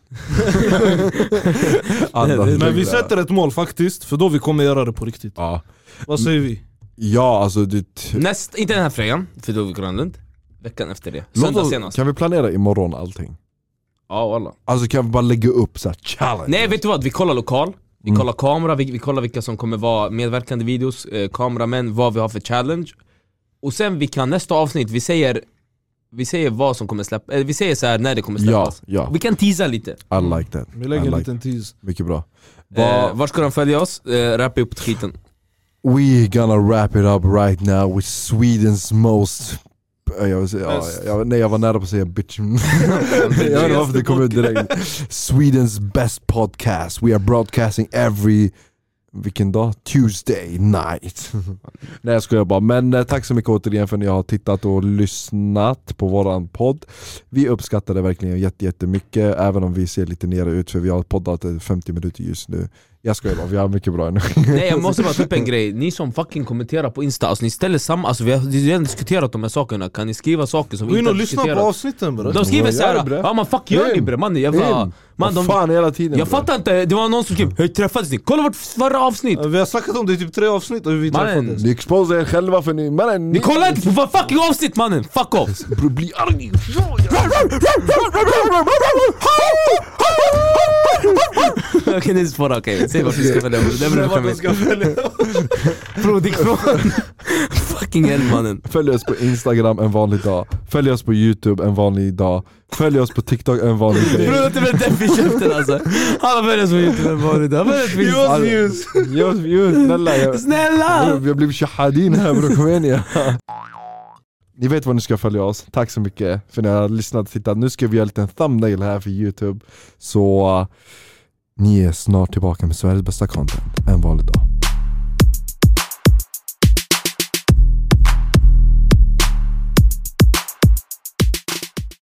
Speaker 1: Andas
Speaker 4: Men
Speaker 2: Men vi
Speaker 1: lugnt.
Speaker 2: sätter ett mål faktiskt, för då vi kommer göra det på riktigt
Speaker 1: Ja,
Speaker 2: Vad
Speaker 4: Mm.
Speaker 2: säger vi?
Speaker 1: ja alltså det...
Speaker 4: Näst, inte den här fredagen, för då är vi i Grönlund Veckan efter det,
Speaker 1: Låt
Speaker 4: söndag
Speaker 1: oss-
Speaker 4: senast
Speaker 1: Kan vi planera imorgon allting?
Speaker 4: Ja walla
Speaker 1: Alltså kan vi bara lägga upp så här challenge?
Speaker 4: Nej vet du vad, vi kollar lokal, vi
Speaker 1: Mm.
Speaker 4: kollar kamera, vi, vi kollar vilka som kommer vara medverkande i videos, eh, kameramän, vad vi har för challenge Och sen vi kan nästa avsnitt, vi säger vi säger vad som kommer släppas, vi säger så här när det kommer
Speaker 1: Ja,
Speaker 4: släppas
Speaker 1: ja,
Speaker 4: Vi kan teasa lite,
Speaker 1: I like that
Speaker 2: Vi
Speaker 1: I
Speaker 2: lägger en
Speaker 1: like
Speaker 2: liten tease
Speaker 1: Mycket bra
Speaker 4: eh,
Speaker 1: Va-
Speaker 4: var ska de följa oss? Eh, rappa
Speaker 1: [LAUGHS]
Speaker 4: upp skiten
Speaker 1: We gonna wrap it up right now with Swedens most Eh, jag vill säga, ja,
Speaker 2: Best.
Speaker 1: jag, nej jag var nära på att säga [LAUGHS] bitch Jag vet inte varför det kom ut direkt Swedens best podcast, we are broadcasting every vilken dag? Tuesday night [LAUGHS] Nej jag skojar bara, men eh, tack så mycket återigen för att ni har tittat och lyssnat på våran podd Vi uppskattar det verkligen jätte- jättemycket, även om vi ser lite nere ut för vi har poddat eh, 50 minuter just nu Jag skojar bara, vi har mycket bra energi
Speaker 4: Nej jag måste bara ta upp en grej, ni som fucking kommenterar på insta, alltså ni ställer samma, alltså vi har vi har redan diskuterat de här sakerna, kan ni skriva saker som
Speaker 2: Gå
Speaker 4: vi
Speaker 2: in
Speaker 4: inte
Speaker 2: och
Speaker 4: har
Speaker 2: lyssna på
Speaker 4: diskuterat?
Speaker 2: avsnitten bre
Speaker 4: De skriver
Speaker 1: Vad gör du,
Speaker 4: såhär,
Speaker 1: bre?
Speaker 4: ja men fuck gör ni
Speaker 1: In.
Speaker 4: bre mannen?
Speaker 1: In.
Speaker 4: Jävla, man,
Speaker 1: Vad
Speaker 4: de,
Speaker 1: fan hela tiden
Speaker 4: jag
Speaker 1: bro?
Speaker 4: fattar inte, det var någon som skrev 'Hur träffades ni?' Kolla vårt förra avsnitt!
Speaker 2: Vi har snackat om det i typ tre avsnitt och hur vi
Speaker 4: Mannen,
Speaker 2: träffades
Speaker 1: Ni exposar er själva för ni... Mannen,
Speaker 4: Ni kollar inte på vårt fucking avsnitt mannen! Fuck off!
Speaker 1: Bro, bli arg!
Speaker 4: Okej det är spåra, okej. Säg varför du ska följa med. Det blir fram
Speaker 2: ska följa.
Speaker 4: Bror ditt från Fucking hell mannen.
Speaker 1: Följ oss på Instagram en vanlig dag, följ oss på Youtube en vanlig dag, följ oss på TikTok en vanlig
Speaker 4: Bror
Speaker 1: dag.
Speaker 4: låter väl depp i käften alltså. Alla börjar som inte har varit där. Vad är det för
Speaker 2: Ge oss
Speaker 4: Alltså,
Speaker 2: views!
Speaker 1: Ge oss views, snälla. Jag,
Speaker 4: Snälla!
Speaker 1: jag blev shahadin här bror, kom igen ja. Ni vet var ni ska följa oss, tack så mycket för att ni har lyssnat och tittat. Nu ska vi göra en liten thumbnail här för Youtube. Så eh, ni är snart tillbaka med Sveriges bästa content en vanlig dag.